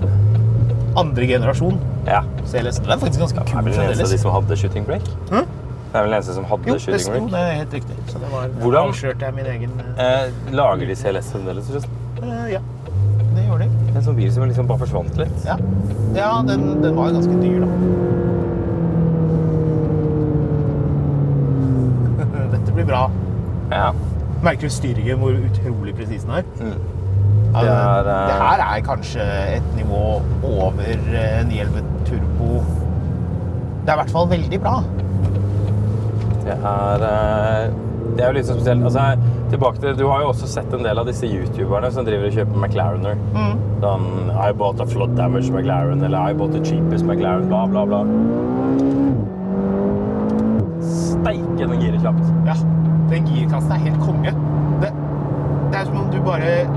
Speaker 2: andre generasjon.
Speaker 3: Ja.
Speaker 2: CLS. Den er faktisk ganske
Speaker 3: Det er
Speaker 2: kul
Speaker 3: vel den eneste av
Speaker 2: fremdeles.
Speaker 3: de som hadde Shooting Break?
Speaker 2: Hæ?
Speaker 3: Det er vel den eneste som hadde
Speaker 2: Jo, det,
Speaker 3: Shooting
Speaker 2: sto-
Speaker 3: Break?
Speaker 2: det er helt riktig. Så det var,
Speaker 3: Hvordan-
Speaker 2: avslørte jeg min egen eh,
Speaker 3: Eh, lager de CLS fremdeles? forresten?
Speaker 2: eh, Ja, det gjorde de.
Speaker 3: Det er En sånn bil som liksom bare forsvant litt.
Speaker 2: Ja, ja den, den var ganske dyr, da. [laughs] Dette blir bra.
Speaker 3: Ja.
Speaker 2: Merker du styringen, hvor utrolig presis den er? Ja,
Speaker 3: Mm. Det er,
Speaker 2: det,
Speaker 3: eh,
Speaker 2: det her er kanskje et nivå over eh, 911 Turbo. Det er i hvert fall veldig bra.
Speaker 3: Det er eh, Det er jo litt så spesielt. Altså, jeg- tilbake til, du har jo også sett en del av disse youtuberne som driver og kjøper McLarener.
Speaker 2: Mm.
Speaker 3: Sånn I bought a flood damage McLaren, eller I bought the cheapest McLaren, bla, bla, bla. Steike, den girer kjapt.
Speaker 2: Ja, den girkassen er helt konge. Det, det er som om du bare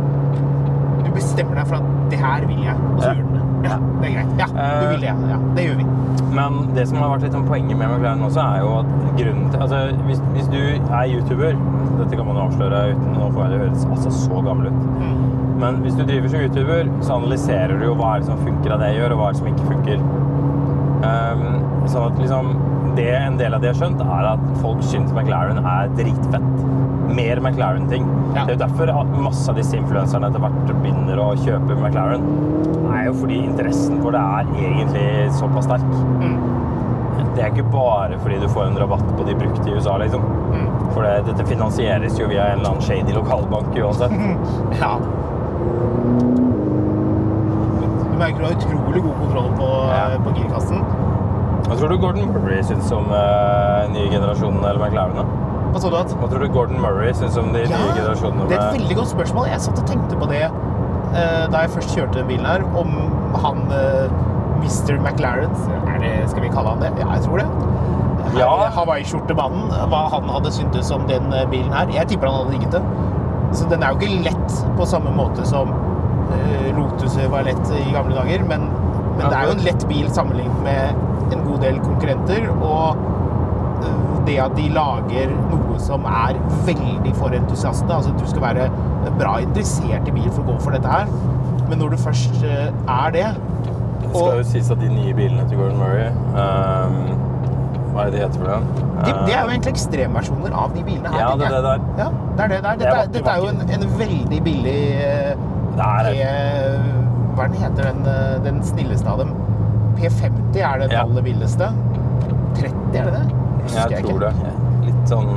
Speaker 2: Du bestemmer deg for at det her vil jeg, og så
Speaker 3: Ja.
Speaker 2: gjør du det. Ja, det er greit. Ja, du
Speaker 3: Eh.
Speaker 2: vil det. Ja, det gjør vi.
Speaker 3: Men det som har vært litt sånn poenget med McLaren også, er jo at grunnen til Altså, hvis, hvis du er youtuber Dette kan man jo avsløre uten å få det høres altså så gammel ut. Men hvis du driver som youtuber, så analyserer du jo hva er det som funker av det jeg gjør, og hva er det som ikke funker. Ehm, sånn at liksom det, En del av det jeg har skjønt, er at folk syns McLaren er dritfett. Mer McLaren-ting.
Speaker 2: Ja.
Speaker 3: Det er jo derfor at masse av disse influenserne etter hvert begynner å kjøpe McLaren. Det er jo fordi interessen for det er egentlig såpass sterk. Det er ikke bare fordi du får en rabatt på de brukte i USA, liksom.
Speaker 2: Mm.
Speaker 3: For det, dette finansieres jo via en eller annen shady lokalbank uansett.
Speaker 2: [laughs] Ja. Du merker du har utrolig god kontroll på,
Speaker 3: Ja.
Speaker 2: på girkassen.
Speaker 3: Hva tror du Gordon Murray syns om eh, nye generasjonen eller McLarene?
Speaker 2: Hva sa du? at?
Speaker 3: Hva tror du Gordon Murray syns om de nye generasjonene?
Speaker 2: det er et
Speaker 3: med-
Speaker 2: veldig godt spørsmål. Jeg satt og tenkte på det eh, da jeg først kjørte den bilen her, om han eh, Mr. McLaren er det, Skal vi kalle han det? Ja, jeg tror det. Her,
Speaker 3: Ja.
Speaker 2: Hawaii-skjortemannen, hva han hadde syntes om den eh, bilen her. Jeg tipper han hadde ligget den. Så den er jo ikke lett på samme måte som eh, Lotus var lett i gamle dager, men, men det er jo en lett bil sammenlignet med en god del konkurrenter. og eh, det at de lager noe som er veldig for entusiastene. Altså, du skal være bra interessert i bil for å gå for dette her. Men når du først eh, er det
Speaker 3: Det skal jo
Speaker 2: og
Speaker 3: sies at de nye bilene til Gordon Murray ehm, Hva er det de heter for noe?
Speaker 2: de, Det er jo egentlig ekstremversjoner av de bilene her.
Speaker 3: Ja, det
Speaker 2: tenker
Speaker 3: er det
Speaker 2: jeg.
Speaker 3: der.
Speaker 2: Ja, det er det der.
Speaker 3: Det er
Speaker 2: Dette, er-
Speaker 3: vakker,
Speaker 2: dette er jo en,
Speaker 3: vakker.
Speaker 2: en veldig billig eh,
Speaker 3: Det er
Speaker 2: P... Hva er den heter den, eh, den snilleste av dem? P50 er den
Speaker 3: Ja.
Speaker 2: aller villeste. 30 er det det? Husker
Speaker 3: Jeg
Speaker 2: ikke.
Speaker 3: tror det. Litt sånn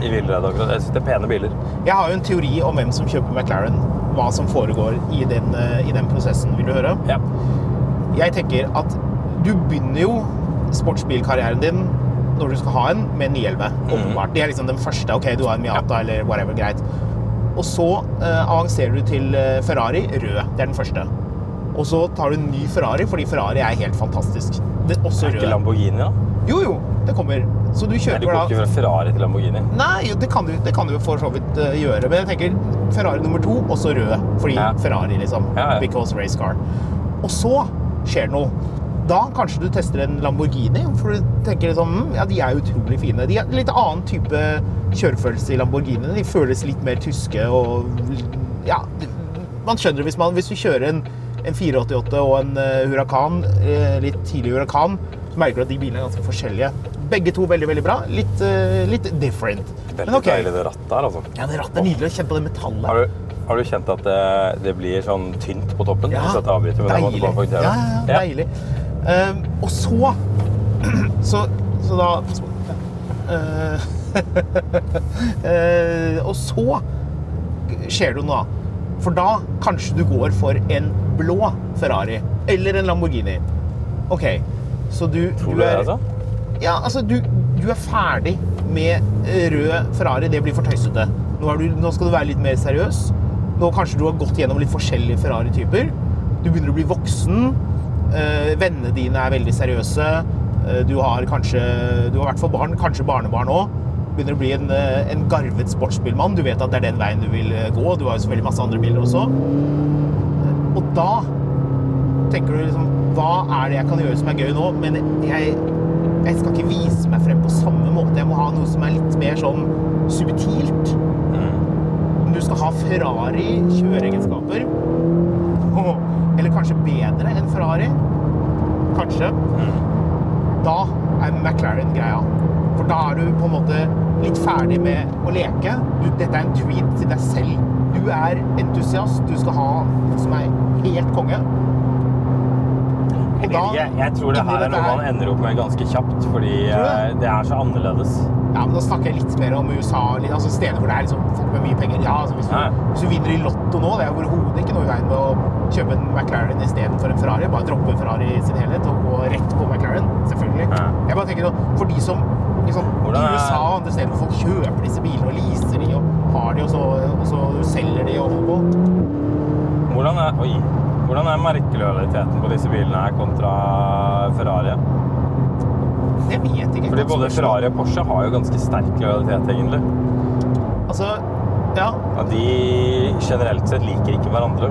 Speaker 3: i villrede akkurat. Jeg syns det er pene biler.
Speaker 2: Jeg har jo en teori om hvem som kjøper McLaren. Hva som foregår i den, eh, i den prosessen. Vil du høre?
Speaker 3: Ja.
Speaker 2: Jeg tenker at du begynner jo sportsbilkarrieren din når du skal ha en, med en 911.
Speaker 3: Mhm.
Speaker 2: Åpenbart. Det er liksom den første. Ok, du har en Miata eller whatever, greit. Og så eh, avanserer du til eh, Ferrari rød. Det er den første. Og så tar du en ny Ferrari, fordi Ferrari er helt fantastisk. Det er også
Speaker 3: Ikke
Speaker 2: rød.
Speaker 3: Lamborghini, da?
Speaker 2: Jo, jo, det kommer. Så du
Speaker 3: Nei,
Speaker 2: kjøper
Speaker 3: du går ikke fra Ferrari til Lamborghini.
Speaker 2: Nei, jo, det kan du, det kan du jo for så vidt eh, gjøre, men jeg tenker Ferrari nummer to, og så rød. Fordi
Speaker 3: Ja.
Speaker 2: Ferrari, liksom.
Speaker 3: Ja, ja.
Speaker 2: Because race car. Og så skjer det noe. Da kanskje du tester en Lamborghini, for du tenker liksom "Hm, Ja, de er utrolig fine. De har litt annen type kjørefølelse i Lamborghiniene. De føles litt mer tyske og Ja, man skjønner det hvis man Hvis du kjører en, en 488 og en eh, Huracan, eh, litt tidlig Huracan, så merker du at de bilene er ganske forskjellige. Begge to veldig, veldig bra. Litt, eh, litt different.
Speaker 3: Veldig
Speaker 2: Men ok.
Speaker 3: deilig det rattet her, altså.
Speaker 2: Ja, det rattet er nydelig. Kjenn på det metallet.
Speaker 3: Har du, har du kjent at det, det blir sånn tynt på toppen?
Speaker 2: Ja,
Speaker 3: Hvis dette avbryter, men jeg måtte
Speaker 2: deilig.
Speaker 3: bare poengtere
Speaker 2: Ja, ja,
Speaker 3: det.
Speaker 2: ja, deilig. Ehm, og så [clears throat] Så, så da eh, [laughs] eh, Og så skjer det noe, da. For da kanskje du går for en blå Ferrari eller en Lamborghini. OK, så du
Speaker 3: Tror du det, altså?
Speaker 2: ja, altså, du, du er ferdig med eh, rød Ferrari. Det blir for tøysete. Nå, er du, nå skal du være litt mer seriøs. Nå kanskje du har gått gjennom litt forskjellige Ferrari-typer. Du begynner å bli voksen. Eh, vennene dine er veldig seriøse. Eh, du har kanskje Du har i hvert fall barn. Kanskje barnebarn òg. Begynner å bli en, eh, en garvet sportsbilmann. Du vet at det er den veien du vil eh, gå. Du har jo selvfølgelig masse andre biler også. Eh, Og da tenker du liksom Hva er det jeg kan gjøre som er gøy nå? Men jeg, jeg skal ikke vise meg frem på samme måte. Jeg må ha noe som er litt mer sånn subtilt. Du skal ha Ferrari-kjøreegenskaper. Eller kanskje bedre enn Ferrari. Kanskje. Da er McLaren greia. For da er du på en måte litt ferdig med å leke. Du, dette er en tweet til deg selv. Du er entusiast. Du skal ha noe som er helt konge.
Speaker 3: Jeg, vet ikke. jeg tror det
Speaker 2: inni
Speaker 3: her er
Speaker 2: dette
Speaker 3: noe man ender opp med ganske kjapt, fordi eh, det er så annerledes.
Speaker 2: Ja, men da snakker jeg litt mer om USA, litt- altså steder hvor det er liksom, folk med mye penger. Ja, altså hvis,
Speaker 3: Ja.
Speaker 2: du, hvis du vinner i Lotto nå, det er overhodet ikke noe i veien med å kjøpe en McLaren istedenfor en Ferrari. Bare droppe Ferrari i sin helhet og gå rett på McLaren. Selvfølgelig.
Speaker 3: Ja.
Speaker 2: Jeg bare tenker nå, For de som liksom,
Speaker 3: Hvordan
Speaker 2: i
Speaker 3: er-
Speaker 2: USA og andre steder hvor folk kjøper disse bilene og leaser de og har de, og så, og så selger de og holder på
Speaker 3: Hvordan er, oi, hvordan er merkelojaliteten på disse bilene her kontra Ferrari?
Speaker 2: Det vet jeg ikke.
Speaker 3: Fordi både
Speaker 2: Spørsmål.
Speaker 3: Ferrari og Porsche har jo ganske sterk lojalitet, egentlig.
Speaker 2: Altså, ja,
Speaker 3: Ja, de generelt sett liker ikke hverandre.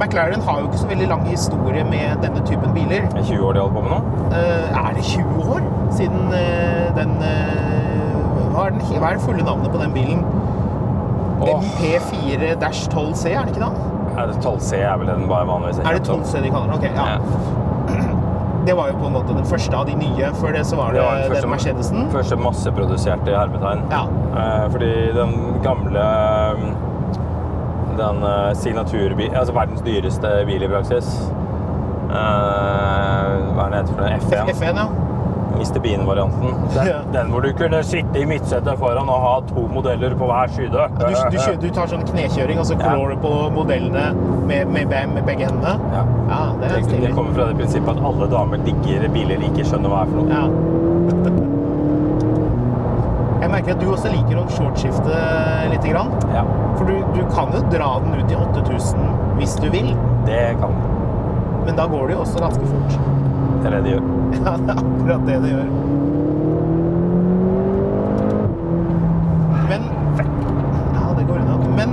Speaker 2: McLaren har jo ikke så veldig lang historie med denne typen biler.
Speaker 3: Det er 20 år de holder på med nå.
Speaker 2: Eh, er det 20 år siden eh, den eh, hva, er den hva er det fulle navnet på den bilen?
Speaker 3: Åh.
Speaker 2: MP4-12C, er det ikke det?
Speaker 3: Er det 12C er vel det den bare vanligvis
Speaker 2: Er det 12C de kaller den? Ok,
Speaker 3: Ja.
Speaker 2: ja. Det var jo på en måte den første av de nye. Før det så var det,
Speaker 3: Det var den første,
Speaker 2: den Mercedesen.
Speaker 3: første masseproduserte i hermetegn.
Speaker 2: Ja.
Speaker 3: Eh, fordi den gamle mm, den eh, signaturbil, altså verdens dyreste bil i praksis eh, Hva er det heter for det? F1?
Speaker 2: F1, ja.
Speaker 3: Mr. Bean-varianten. Den,
Speaker 2: Ja.
Speaker 3: den hvor du kunne sitte i midtsetet foran og ha to modeller på hver side.
Speaker 2: Du, du, kjø- du tar sånn knekjøring, og så
Speaker 3: Ja.
Speaker 2: klår du på modellene med, med, be- med begge hendene.
Speaker 3: Ja.
Speaker 2: Ja, det er
Speaker 3: Det, det
Speaker 2: stilig.
Speaker 3: kommer fra det prinsippet at alle damer digger biler de ikke skjønner hva er for noe.
Speaker 2: Ja. Jeg merker at du også liker å shortskifte litt. Grann.
Speaker 3: Ja,
Speaker 2: For du, du kan jo dra den ut i 8000 hvis du vil,
Speaker 3: det kan
Speaker 2: men da går det jo også ganske fort. [laughs]
Speaker 3: Det er det de gjør.
Speaker 2: Ja, det er akkurat det det gjør. Men Ja, det går unna. Men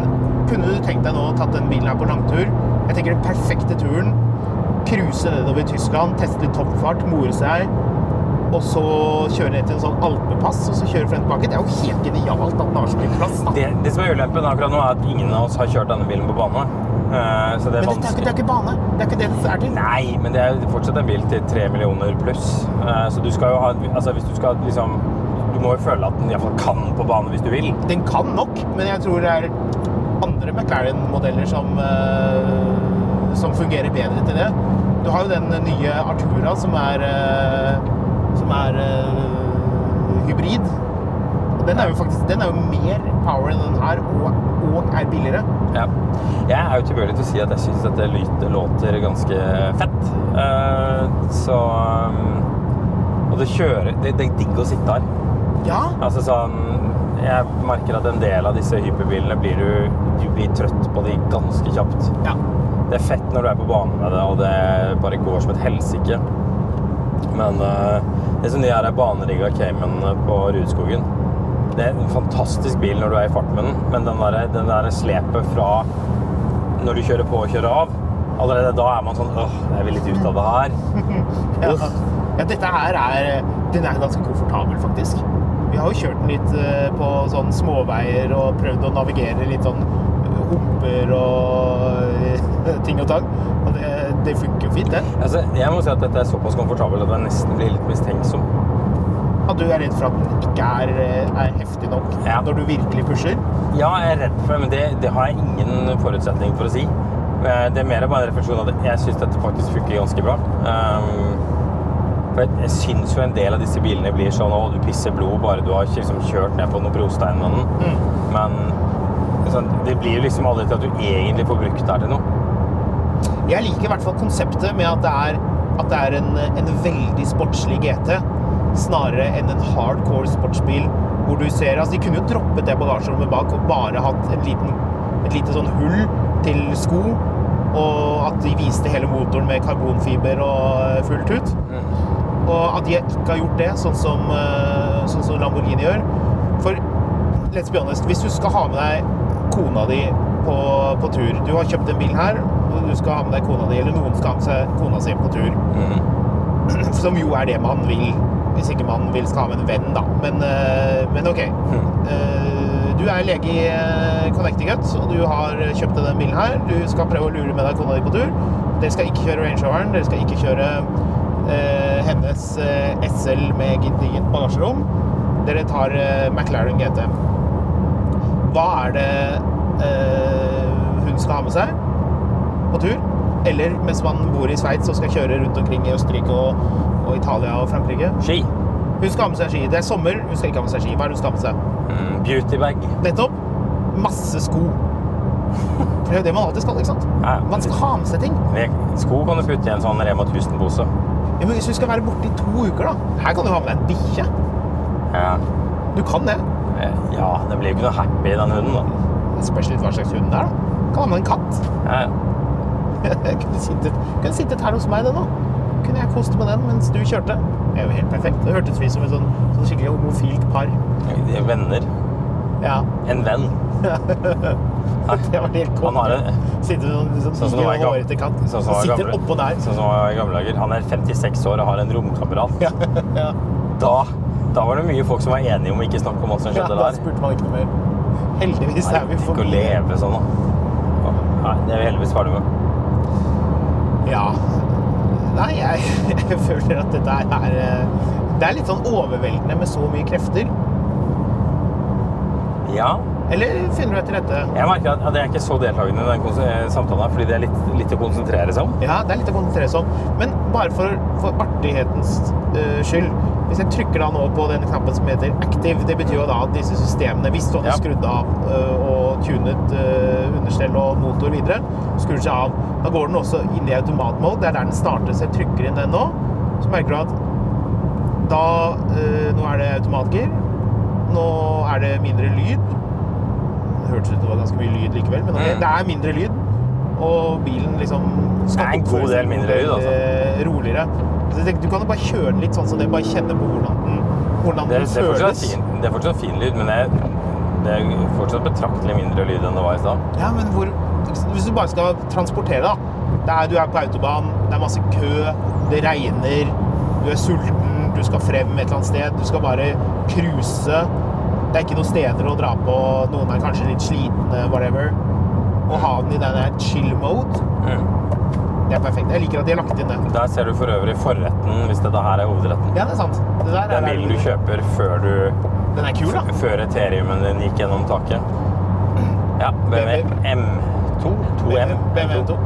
Speaker 2: kunne du tenkt deg nå å tatt den bilen her på langtur? Jeg tenker den perfekte turen. Cruise nedover i Tyskland, teste litt toppfart, more seg. og så kjøre ned til en sånn alpepass, og så kjøre frem og tilbake. Det er jo helt genialt at den har så mye plass. da.
Speaker 3: Det, det som er ulempen akkurat nå, er at ingen av oss har kjørt denne bilen på bane. Eh, Så det
Speaker 2: Men dette
Speaker 3: er
Speaker 2: er, ikke, det
Speaker 3: vanskelig.
Speaker 2: er ikke bane. Det er ikke det det er til.
Speaker 3: Nei, men det er fortsatt en bil til 3 millioner pluss. Eh, Så du skal jo ha Altså, hvis du skal liksom Du må jo føle at den iallfall kan på bane hvis du vil.
Speaker 2: Den kan nok, men jeg tror det er andre McLaren-modeller som, eh, som fungerer bedre til det. Du har jo den nye Artura som er, eh, som er eh, hybrid. Og Den er jo faktisk den er jo mer power enn den her, og, og er billigere.
Speaker 3: Ja. Jeg er jo tilbøyelig til å si at jeg syns dette lyt- låter ganske fett. Eh, Så um, Og det kjører Det, det er digg å sitte her.
Speaker 2: Ja,
Speaker 3: Altså sånn Jeg merker at en del av disse hyperbilene blir du, du blir trøtt på de ganske kjapt.
Speaker 2: ja.
Speaker 3: Det er fett når du er på banen med det, og det bare går som et helsike. Men eh, det som de her er banerigga Cayman på Rudskogen Det er en fantastisk bil når du er i fart med den, men den der, den der slepet fra når du kjører på og kjører av Allerede da er man sånn Åh, jeg vil litt ut av det her.
Speaker 2: ja.
Speaker 3: Uff.
Speaker 2: ja dette her er Den er ganske komfortabel, faktisk. Vi har jo kjørt den litt eh, på sånn småveier og prøvd å navigere litt sånn eh, humper og eh, [laughs] ting og tang. Og det, det funker jo fint, det.
Speaker 3: Altså, jeg må si at dette er såpass komfortabel at jeg nesten blir litt mistenksom.
Speaker 2: At du er redd for at den ikke er, eh, er heftig nok
Speaker 3: Ja.
Speaker 2: når du virkelig pusher.
Speaker 3: Ja, jeg er redd for det, men det, det har jeg ingen forutsetning for å si. Eh, Det er mer bare en refleksjon av at jeg syns dette faktisk funker ganske bra. Ehm, for jeg, jeg syns jo en del av disse bilene blir sånn å, du pisser blod bare du har ikke liksom kjørt ned på noen brostein med den. Men sånn, det blir jo liksom aldri til at du egentlig får brukt det her til noe.
Speaker 2: Jeg liker i hvert fall konseptet med at det er, at det er en, en veldig sportslig GT, snarere enn en hardcore sportsbil hvor du ser Altså, de kunne jo droppet det bagasjerommet bak og bare hatt en liten, et lite sånn hull til sko, og at de viste hele motoren med karbonfiber og fullt ut. Og at de ikke har gjort det, sånn som, eh, sånn som Lamborghini gjør. For let's be honest, hvis du skal ha med deg kona di på, på tur Du har kjøpt en bil her, og du skal ha med deg kona di, eller noen skal ha med seg kona si på tur. [laughs] Som jo er det man vil, hvis ikke man vil skal ha med en venn, da. Men, eh, men OK. Eh, Du er lege i eh, Connecticut, og du har kjøpt deg den bilen her. Du skal prøve å lure med deg kona di på tur. Dere skal ikke kjøre Range Roveren, dere skal ikke kjøre eh, hennes eh, SL med gedigent bagasjerom. Dere tar eh, McLaren GT. Hva er det eh, hun skal ha med seg på tur? Eller mens man bor i Sveits og skal kjøre rundt omkring i Østerrike og, og Italia og Frankrike?
Speaker 3: Ski.
Speaker 2: Hun skal ha med seg ski. Det er sommer, hun skal ikke ha med seg ski. Hva er det hun skal ha med seg?
Speaker 3: Mm, Beautybag.
Speaker 2: Nettopp. Masse sko. For det er jo det man alltid skal, ikke sant?
Speaker 3: Ja.
Speaker 2: Man skal ha med seg ting.
Speaker 3: Sko kan du putte i en sånn Rema 1000-pose.
Speaker 2: Ja, men hvis du skal være borte i to uker, da Her kan du ha med deg en bikkje.
Speaker 3: Ja.
Speaker 2: Du kan det.
Speaker 3: Eh, ja, det blir jo ikke noe happy i den hunden, da.
Speaker 2: Det spørs litt hva slags hund det er, da. Kan ha med en katt. [laughs]
Speaker 3: Ja.
Speaker 2: Jeg kunne sittet, kunne sittet her hos meg, den, da. Kunne jeg kost med den mens du kjørte. Det er jo helt perfekt. Det hørtes ut som et sånn, sånn skikkelig homofilt par.
Speaker 3: De er Eh, Venner.
Speaker 2: Ja,
Speaker 3: En venn.
Speaker 2: det var helt
Speaker 3: Han har
Speaker 2: konge.
Speaker 3: en
Speaker 2: Sitter sånn, sånn,
Speaker 3: Sånn som det var i gamle-
Speaker 2: hårete katt.
Speaker 3: sånn som det var i
Speaker 2: Sitter
Speaker 3: gamle-
Speaker 2: oppå der.
Speaker 3: Sånn som det var i gamle dager. Han er 56 år og har en romkamerat.
Speaker 2: Ja, [laughs] ja.
Speaker 3: Da, da var det mye folk som var enige om å ikke snakke om alt som
Speaker 2: Ja,
Speaker 3: skjedde
Speaker 2: da
Speaker 3: der.
Speaker 2: spurte man ikke noe mer. Heldigvis
Speaker 3: Nei,
Speaker 2: er vi
Speaker 3: Tenk å
Speaker 2: forbi det.
Speaker 3: leve sånn, da. Nei, det er vi heldigvis ferdig med.
Speaker 2: Ja. Nei, jeg, jeg [laughs] føler at dette er eh, Det er litt sånn overveldende med så mye krefter.
Speaker 3: Ja.
Speaker 2: Eller finner du deg til rette?
Speaker 3: Jeg merker at at jeg er ikke så deltakende i den kons- eh, samtalen her, fordi det er litt, litt å konsentrere seg om.
Speaker 2: Ja, det er litt å konsentrere seg om. Men bare for, for artighetens eh, skyld Hvis jeg trykker da nå på den knappen som heter 'active', det betyr jo da at disse systemene, hvis du hadde
Speaker 3: Ja.
Speaker 2: skrudd av eh, og tunet eh, understell og motor videre, skrur seg av. Da går den også inn i automatmode. Det er der den starter, så jeg trykker inn den nå. Så merker du at da eh, Nå er det automatgir. Nå er det mindre lyd. Det hørtes ut som det var ganske mye lyd likevel, men ok,
Speaker 3: Mm.
Speaker 2: det er mindre lyd. Og bilen liksom skal
Speaker 3: Det er en
Speaker 2: oppføre
Speaker 3: god
Speaker 2: seg
Speaker 3: del mindre lyd, altså.
Speaker 2: eh, Roligere. Så jeg tenkte, du kan jo bare kjøre den litt sånn som det, bare kjenne på hvordan den, hvordan
Speaker 3: Det,
Speaker 2: den
Speaker 3: det, er, fortsatt
Speaker 2: føles.
Speaker 3: fin, det er fortsatt fin lyd, men det er, det er fortsatt betraktelig mindre lyd enn det var i stad.
Speaker 2: Ja, men hvor Hvis du bare skal transportere, da. Det er, du er på autobahn, det er masse kø, det regner, du er sulten, du skal frem et eller annet sted. Du skal bare cruise. Det er ikke noen steder å dra på. Noen er kanskje litt slitne, whatever. Å ha den i den der chill-mode, Mm. det er perfekt. Jeg liker at de har lagt inn det.
Speaker 3: Der ser du for øvrig forretten, hvis dette her er hovedretten.
Speaker 2: Ja, det er sant. Det der
Speaker 3: Den
Speaker 2: er
Speaker 3: bilen du kjøper før du
Speaker 2: Den er kul, da.
Speaker 3: Før Ethereum-en din gikk gjennom taket. Ja, BMW M2. 2M.
Speaker 2: BMW 2.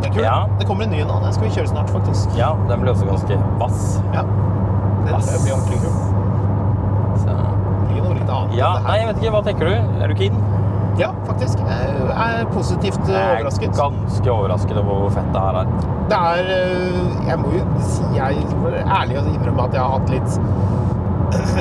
Speaker 2: Det er kult.
Speaker 3: Ja.
Speaker 2: Det kommer en ny nå. Den skal vi kjøre snart, faktisk.
Speaker 3: Ja, den ble også ganske vass.
Speaker 2: Ja. Den
Speaker 3: Ass.
Speaker 2: blir ordentlig kul.
Speaker 3: Så.
Speaker 2: Det Blir noe litt annet.
Speaker 3: Ja,
Speaker 2: enn det
Speaker 3: nei,
Speaker 2: her.
Speaker 3: jeg vet ikke. Hva tenker du? Er du keen?
Speaker 2: ja, faktisk. Jeg er positivt eh,
Speaker 3: Jeg er
Speaker 2: overrasket.
Speaker 3: ganske overrasket over hvor fett det her er.
Speaker 2: Det er eh, Jeg må jo si jeg må være ærlig og innrømme at jeg har hatt litt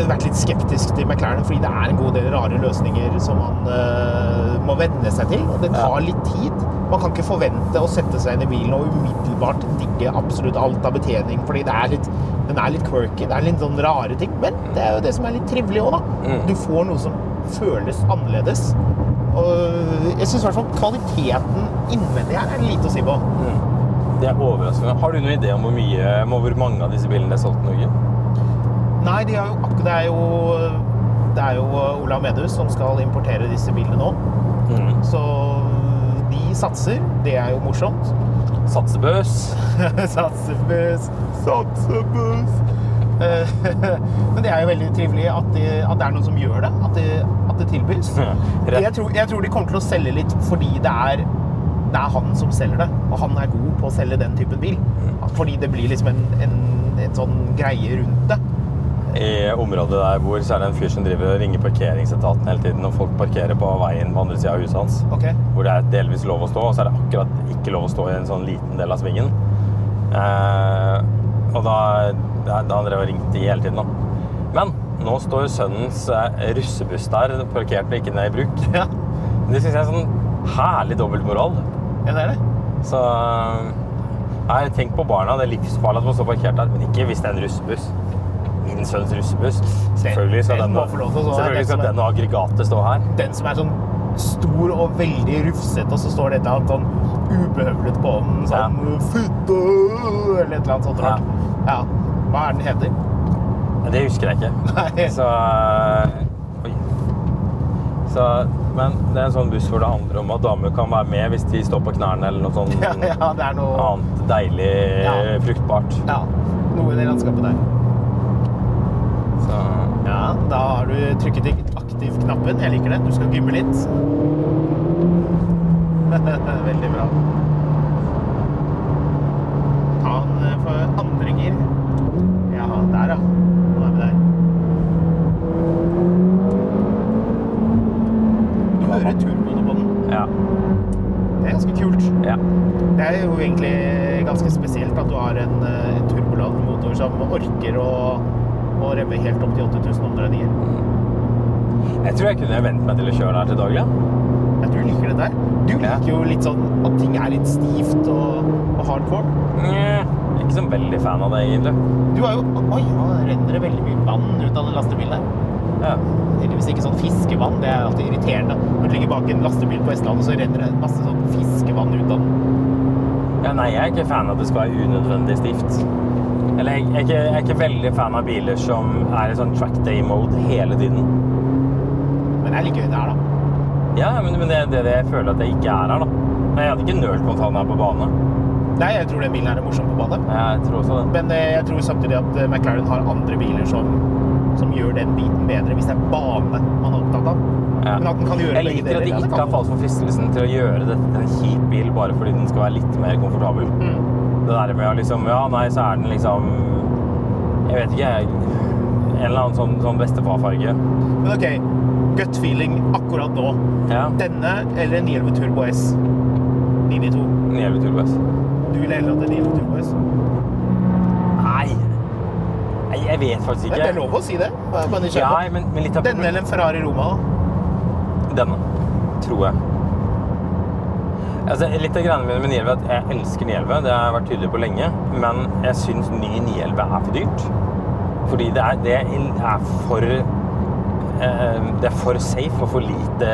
Speaker 2: vært litt [clears throat] skeptisk til McLaren, fordi det er en god del rare løsninger som man eh, må venne seg til. Og det tar litt tid. Man kan ikke forvente å sette seg inn i bilen og umiddelbart digge absolutt alt av betjening, fordi det er litt, den er litt quirky. Det er litt sånn rare ting. Men det er jo det som er litt trivelig òg, da. Du får noe som føles annerledes. Og eh, jeg syns i hvert fall kvaliteten innvendig her er det lite å si på.
Speaker 3: Det er overraskende. Har du noen idé om hvor, mye, om hvor mange av disse bilene er solgt i Norge?
Speaker 2: Nei, de har jo, akkurat- det er jo Det er jo eh, Olav Medhus som skal importere disse bilene nå.
Speaker 3: Mm.
Speaker 2: Så mm, de satser. Det er jo morsomt. [laughs]
Speaker 3: Satsebøs.
Speaker 2: Satsebuss, satsebuss. Eh, [laughs] Men det er jo veldig trivelig at, de, at det er noen som gjør det. At, de, at det tilbys.
Speaker 3: Ja, rett.
Speaker 2: Jeg tror, jeg tror de kommer til å selge litt fordi det er, det er han som selger det. Og han er god på å selge den typen bil.
Speaker 3: Mm.
Speaker 2: Fordi det blir liksom en, en, en sånn greie rundt det.
Speaker 3: I området der jeg bor, så er det en fyr som driver og ringer parkeringsetaten hele tiden når folk parkerer på veien på andre sida av huset hans.
Speaker 2: Ok.
Speaker 3: Hvor det er delvis lov å stå, og så er det akkurat ikke lov å stå i en sånn liten del av svingen. Eh, og da, da, da han drev og ringte i hele tiden, da. Men nå står sønnens eh, russebuss der, parkert og ikke ned i bruk.
Speaker 2: Ja,
Speaker 3: Det syns jeg er sånn herlig dobbeltmoral.
Speaker 2: ja det er det.
Speaker 3: Så eh, Nei, tenk på barna. Det er livsfarlig at man står parkert der. Men ikke hvis det er en russebuss. Min sønns russebuss. Selvfølgelig skal
Speaker 2: den
Speaker 3: den,
Speaker 2: må få lov til å stå her.
Speaker 3: selvfølgelig
Speaker 2: Den
Speaker 3: skal
Speaker 2: som er-
Speaker 3: den og aggregatet stå her.
Speaker 2: Den som er sånn stor og veldig rufsete, og så står dette alt sånn ubehøvlet på den, sånn fitte eller et eller annet sånt
Speaker 3: Ja.
Speaker 2: rart. Ja. Hva er den heter? [laughs]
Speaker 3: Men Det husker jeg ikke.
Speaker 2: Nei.
Speaker 3: Så eh, Oi. Så, men det er en sånn buss hvor det handler om at damer kan være med hvis de står på knærne eller noe sånt
Speaker 2: [laughs] Ja, ja, det er noe
Speaker 3: annet deilig eh,
Speaker 2: Ja.
Speaker 3: fruktbart.
Speaker 2: Ja, noe i det landskapet der.
Speaker 3: Så
Speaker 2: Ja, da har du trykket i aktiv-knappen. Jeg liker det. Du skal gymme litt. [laughs] Veldig bra. Ta den eh, for andre gir. Ja, der ja. Nå er vi der. Du hører turboene på den.
Speaker 3: ja.
Speaker 2: Det er ganske kult.
Speaker 3: ja.
Speaker 2: Det er jo egentlig ganske spesielt at du har en, eh, en turboladet motor som orker å, å remme helt opp til 8000 omdreininger.
Speaker 3: Jeg tror jeg kunne vent meg til å kjøre her til daglig. ja.
Speaker 2: Ja, du liker det der. Du
Speaker 3: Ja.
Speaker 2: liker jo litt sånn at ting er litt stivt og, og hardcore.
Speaker 3: Nja, jeg er Ikke så veldig fan av det, egentlig.
Speaker 2: Du har jo Oi, nå renner det veldig mye vann ut av den lastebilen der.
Speaker 3: Ja.
Speaker 2: Heldigvis ikke sånn fiskevann, det er alltid irriterende. Når du ligger bak en lastebil på Vestlandet, så renner det masse sånn fiskevann ut av den.
Speaker 3: Ja, nei, jeg er ikke fan av at det skal være unødvendig stivt. Eller jeg, jeg, er ikke, jeg er ikke veldig fan av biler som er i sånn track day-mode hele tiden.
Speaker 2: Men det er litt gøy det er, da.
Speaker 3: Ja, men, men det er det, det jeg føler at jeg ikke er her, da. Men jeg hadde ikke nølt med å ta den her på bane.
Speaker 2: Nei, jeg tror den bilen her er morsom på bane.
Speaker 3: Jeg tror også det.
Speaker 2: Men eh, jeg tror samtidig at eh, McLaren har andre biler som, som gjør den biten bedre, hvis det er bane man er opptatt av.
Speaker 3: Ja.
Speaker 2: Men at den kan gjøre
Speaker 3: Jeg
Speaker 2: begge
Speaker 3: liker at
Speaker 2: deler,
Speaker 3: de
Speaker 2: ja, det
Speaker 3: ikke
Speaker 2: kan
Speaker 3: har
Speaker 2: den.
Speaker 3: falt for fristelsen til å gjøre dette til en kjip bil bare fordi den skal være litt mer komfortabel.
Speaker 2: Mm.
Speaker 3: Det der med å liksom Ja, nei, så er den liksom Jeg vet ikke, jeg. En eller annen sånn, sånn bestefarfarge.
Speaker 2: Men ok, gut feeling akkurat nå.
Speaker 3: Ja.
Speaker 2: Denne eller en 911 Turbo S? 992.
Speaker 3: Neve turbass.
Speaker 2: Du vil heller at det er 911 Turbo S?
Speaker 3: Nei. Nei, Jeg vet faktisk
Speaker 2: Det
Speaker 3: ikke.
Speaker 2: er lov å si det. Bare bare
Speaker 3: Ja,
Speaker 2: nysgjerrig.
Speaker 3: men, men litt av
Speaker 2: Denne eller en Ferrari Roma?
Speaker 3: Denne, tror jeg. Altså, litt av greiene mine med 911 er at jeg elsker 911. Det har jeg vært tydelig på lenge. Men jeg syns ny 911 er for dyrt. Fordi det er, det er for eh, Det er for safe og for lite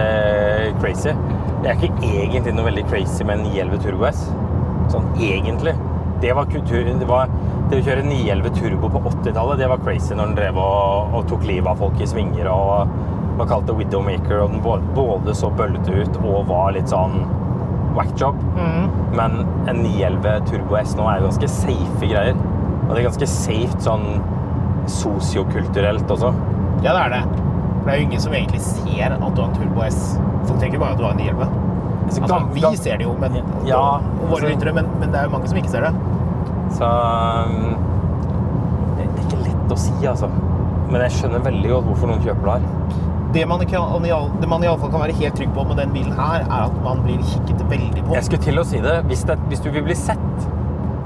Speaker 3: crazy. Det er ikke egentlig noe veldig crazy med en 911 Turbo S. Sånn egentlig. Det var kulturen. Det, var, det å kjøre 911 Turbo på 80-tallet, det var crazy når den drev og, og tok livet av folk i svinger og var kalt det Widowmaker, og den bå- både så bøllete ut og var litt sånn whackjob.
Speaker 2: Mm.
Speaker 3: Men en 911 Turbo S nå er jo ganske safe greier. Og det er ganske safe sånn sosiokulturelt også.
Speaker 2: Ja, det er det. For Det er jo ingen som egentlig ser at du har en Turbo S. Folk tenker bare at du har en 911.
Speaker 3: Altså,
Speaker 2: Altså,
Speaker 3: gam-
Speaker 2: vi
Speaker 3: gam-
Speaker 2: ser det jo, men,
Speaker 3: Ja,
Speaker 2: og, og våre
Speaker 3: altså-
Speaker 2: lyttere, men, men det er jo mange som ikke ser det.
Speaker 3: Så um, det det er ikke lett å si, altså. Men jeg skjønner veldig godt hvorfor noen kjøper det her.
Speaker 2: Det man, ikke, det man i alle fall kan være helt trygg på med den bilen her, er at man blir kikket veldig på.
Speaker 3: Jeg skulle til å si det. Hvis, det, hvis du vil bli sett,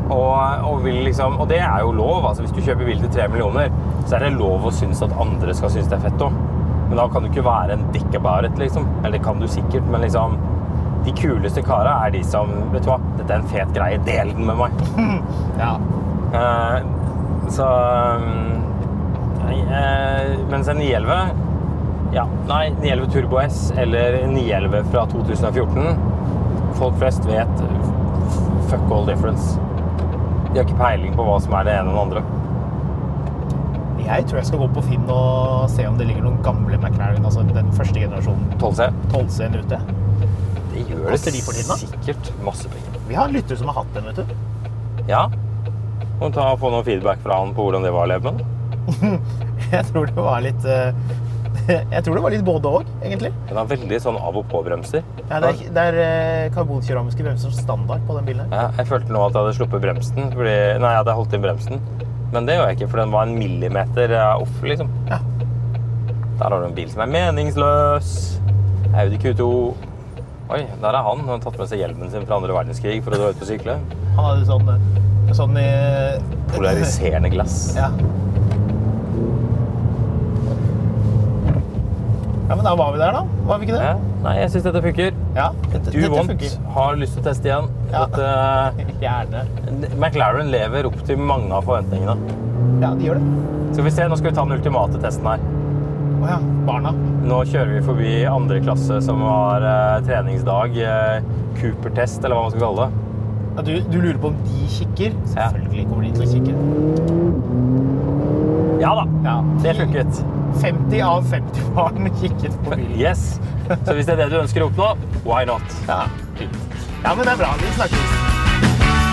Speaker 3: og, og, vil liksom, og det er jo lov altså Hvis du kjøper bil til tre millioner, så er det lov å synes at andre skal synes det er fett òg. Men da kan du ikke være en dick about it, liksom. Eller det kan du sikkert, men liksom De kuleste kara er de som Vet du hva, dette er en fet greie. Del den med meg.
Speaker 2: Ja.
Speaker 3: Eh, så eh, eh, Mens en 911 ja, Nei, 911 Turbo S eller en 911 fra 2014 Folk flest vet f- fuck all difference. De har ikke peiling på hva som er det ene og det andre.
Speaker 2: Jeg tror jeg skal gå på Finn og se om det ligger noen gamle McLaren, altså den første generasjonen
Speaker 3: 12C.
Speaker 2: 12-serien ute.
Speaker 3: Det gjør
Speaker 2: Koster de for tiden, da?
Speaker 3: sikkert masse penger.
Speaker 2: Vi har en lytter som har hatt den, vet du. [laughs]
Speaker 3: Ja. Må ta få noe feedback fra han på hvordan det var å leve med den.
Speaker 2: Jeg tror det var litt eh, [laughs] Jeg tror det var litt både òg, egentlig.
Speaker 3: Den har veldig sånn av og på-bremser.
Speaker 2: Ja, det er, det er eh, karbonkeramiske bremser som standard på den bilen her.
Speaker 3: Ja, jeg følte nå at jeg hadde sluppet bremsen. Fordi, nei, jeg hadde holdt inn bremsen. Men det gjør jeg ikke, for den var en millimeter eh, off, liksom.
Speaker 2: Ja.
Speaker 3: Der har du en bil som er meningsløs. Audi Q2. Oi, der er han. Han har tatt med seg hjelmen sin fra andre verdenskrig for å dra ut på sykle.
Speaker 2: Han hadde sånn, eh, sånn eh,
Speaker 3: Polariserende glass.
Speaker 2: [laughs] Ja. Ja, men da var vi der, da. Var vi ikke det?
Speaker 3: Ja, Nei, jeg syns dette funker.
Speaker 2: Ja. Dette,
Speaker 3: Du
Speaker 2: dette
Speaker 3: vant.
Speaker 2: funker.
Speaker 3: Har lyst til å teste igjen.
Speaker 2: Ja.
Speaker 3: Dette,
Speaker 2: Gjerne.
Speaker 3: McLaren lever opp til mange av forventningene.
Speaker 2: Ja, de gjør det.
Speaker 3: Skal vi se, nå skal vi ta den ultimate testen her.
Speaker 2: Å ja. Barna.
Speaker 3: Nå kjører vi forbi andre klasse som har eh, treningsdag. eh, Cooper-test, eller hva man skal kalle det.
Speaker 2: Ja, du, du lurer på om de kikker?
Speaker 3: Ja.
Speaker 2: Selvfølgelig kommer de til å kikke.
Speaker 3: Ja da,
Speaker 2: Ja.
Speaker 3: det funket.
Speaker 2: 50 av 50 barn [laughs] kikket på bilen.
Speaker 3: Yes. Så hvis det er det du ønsker å oppnå, why not?
Speaker 2: Ja, fint. ja, men det er bra. Vi snakkes.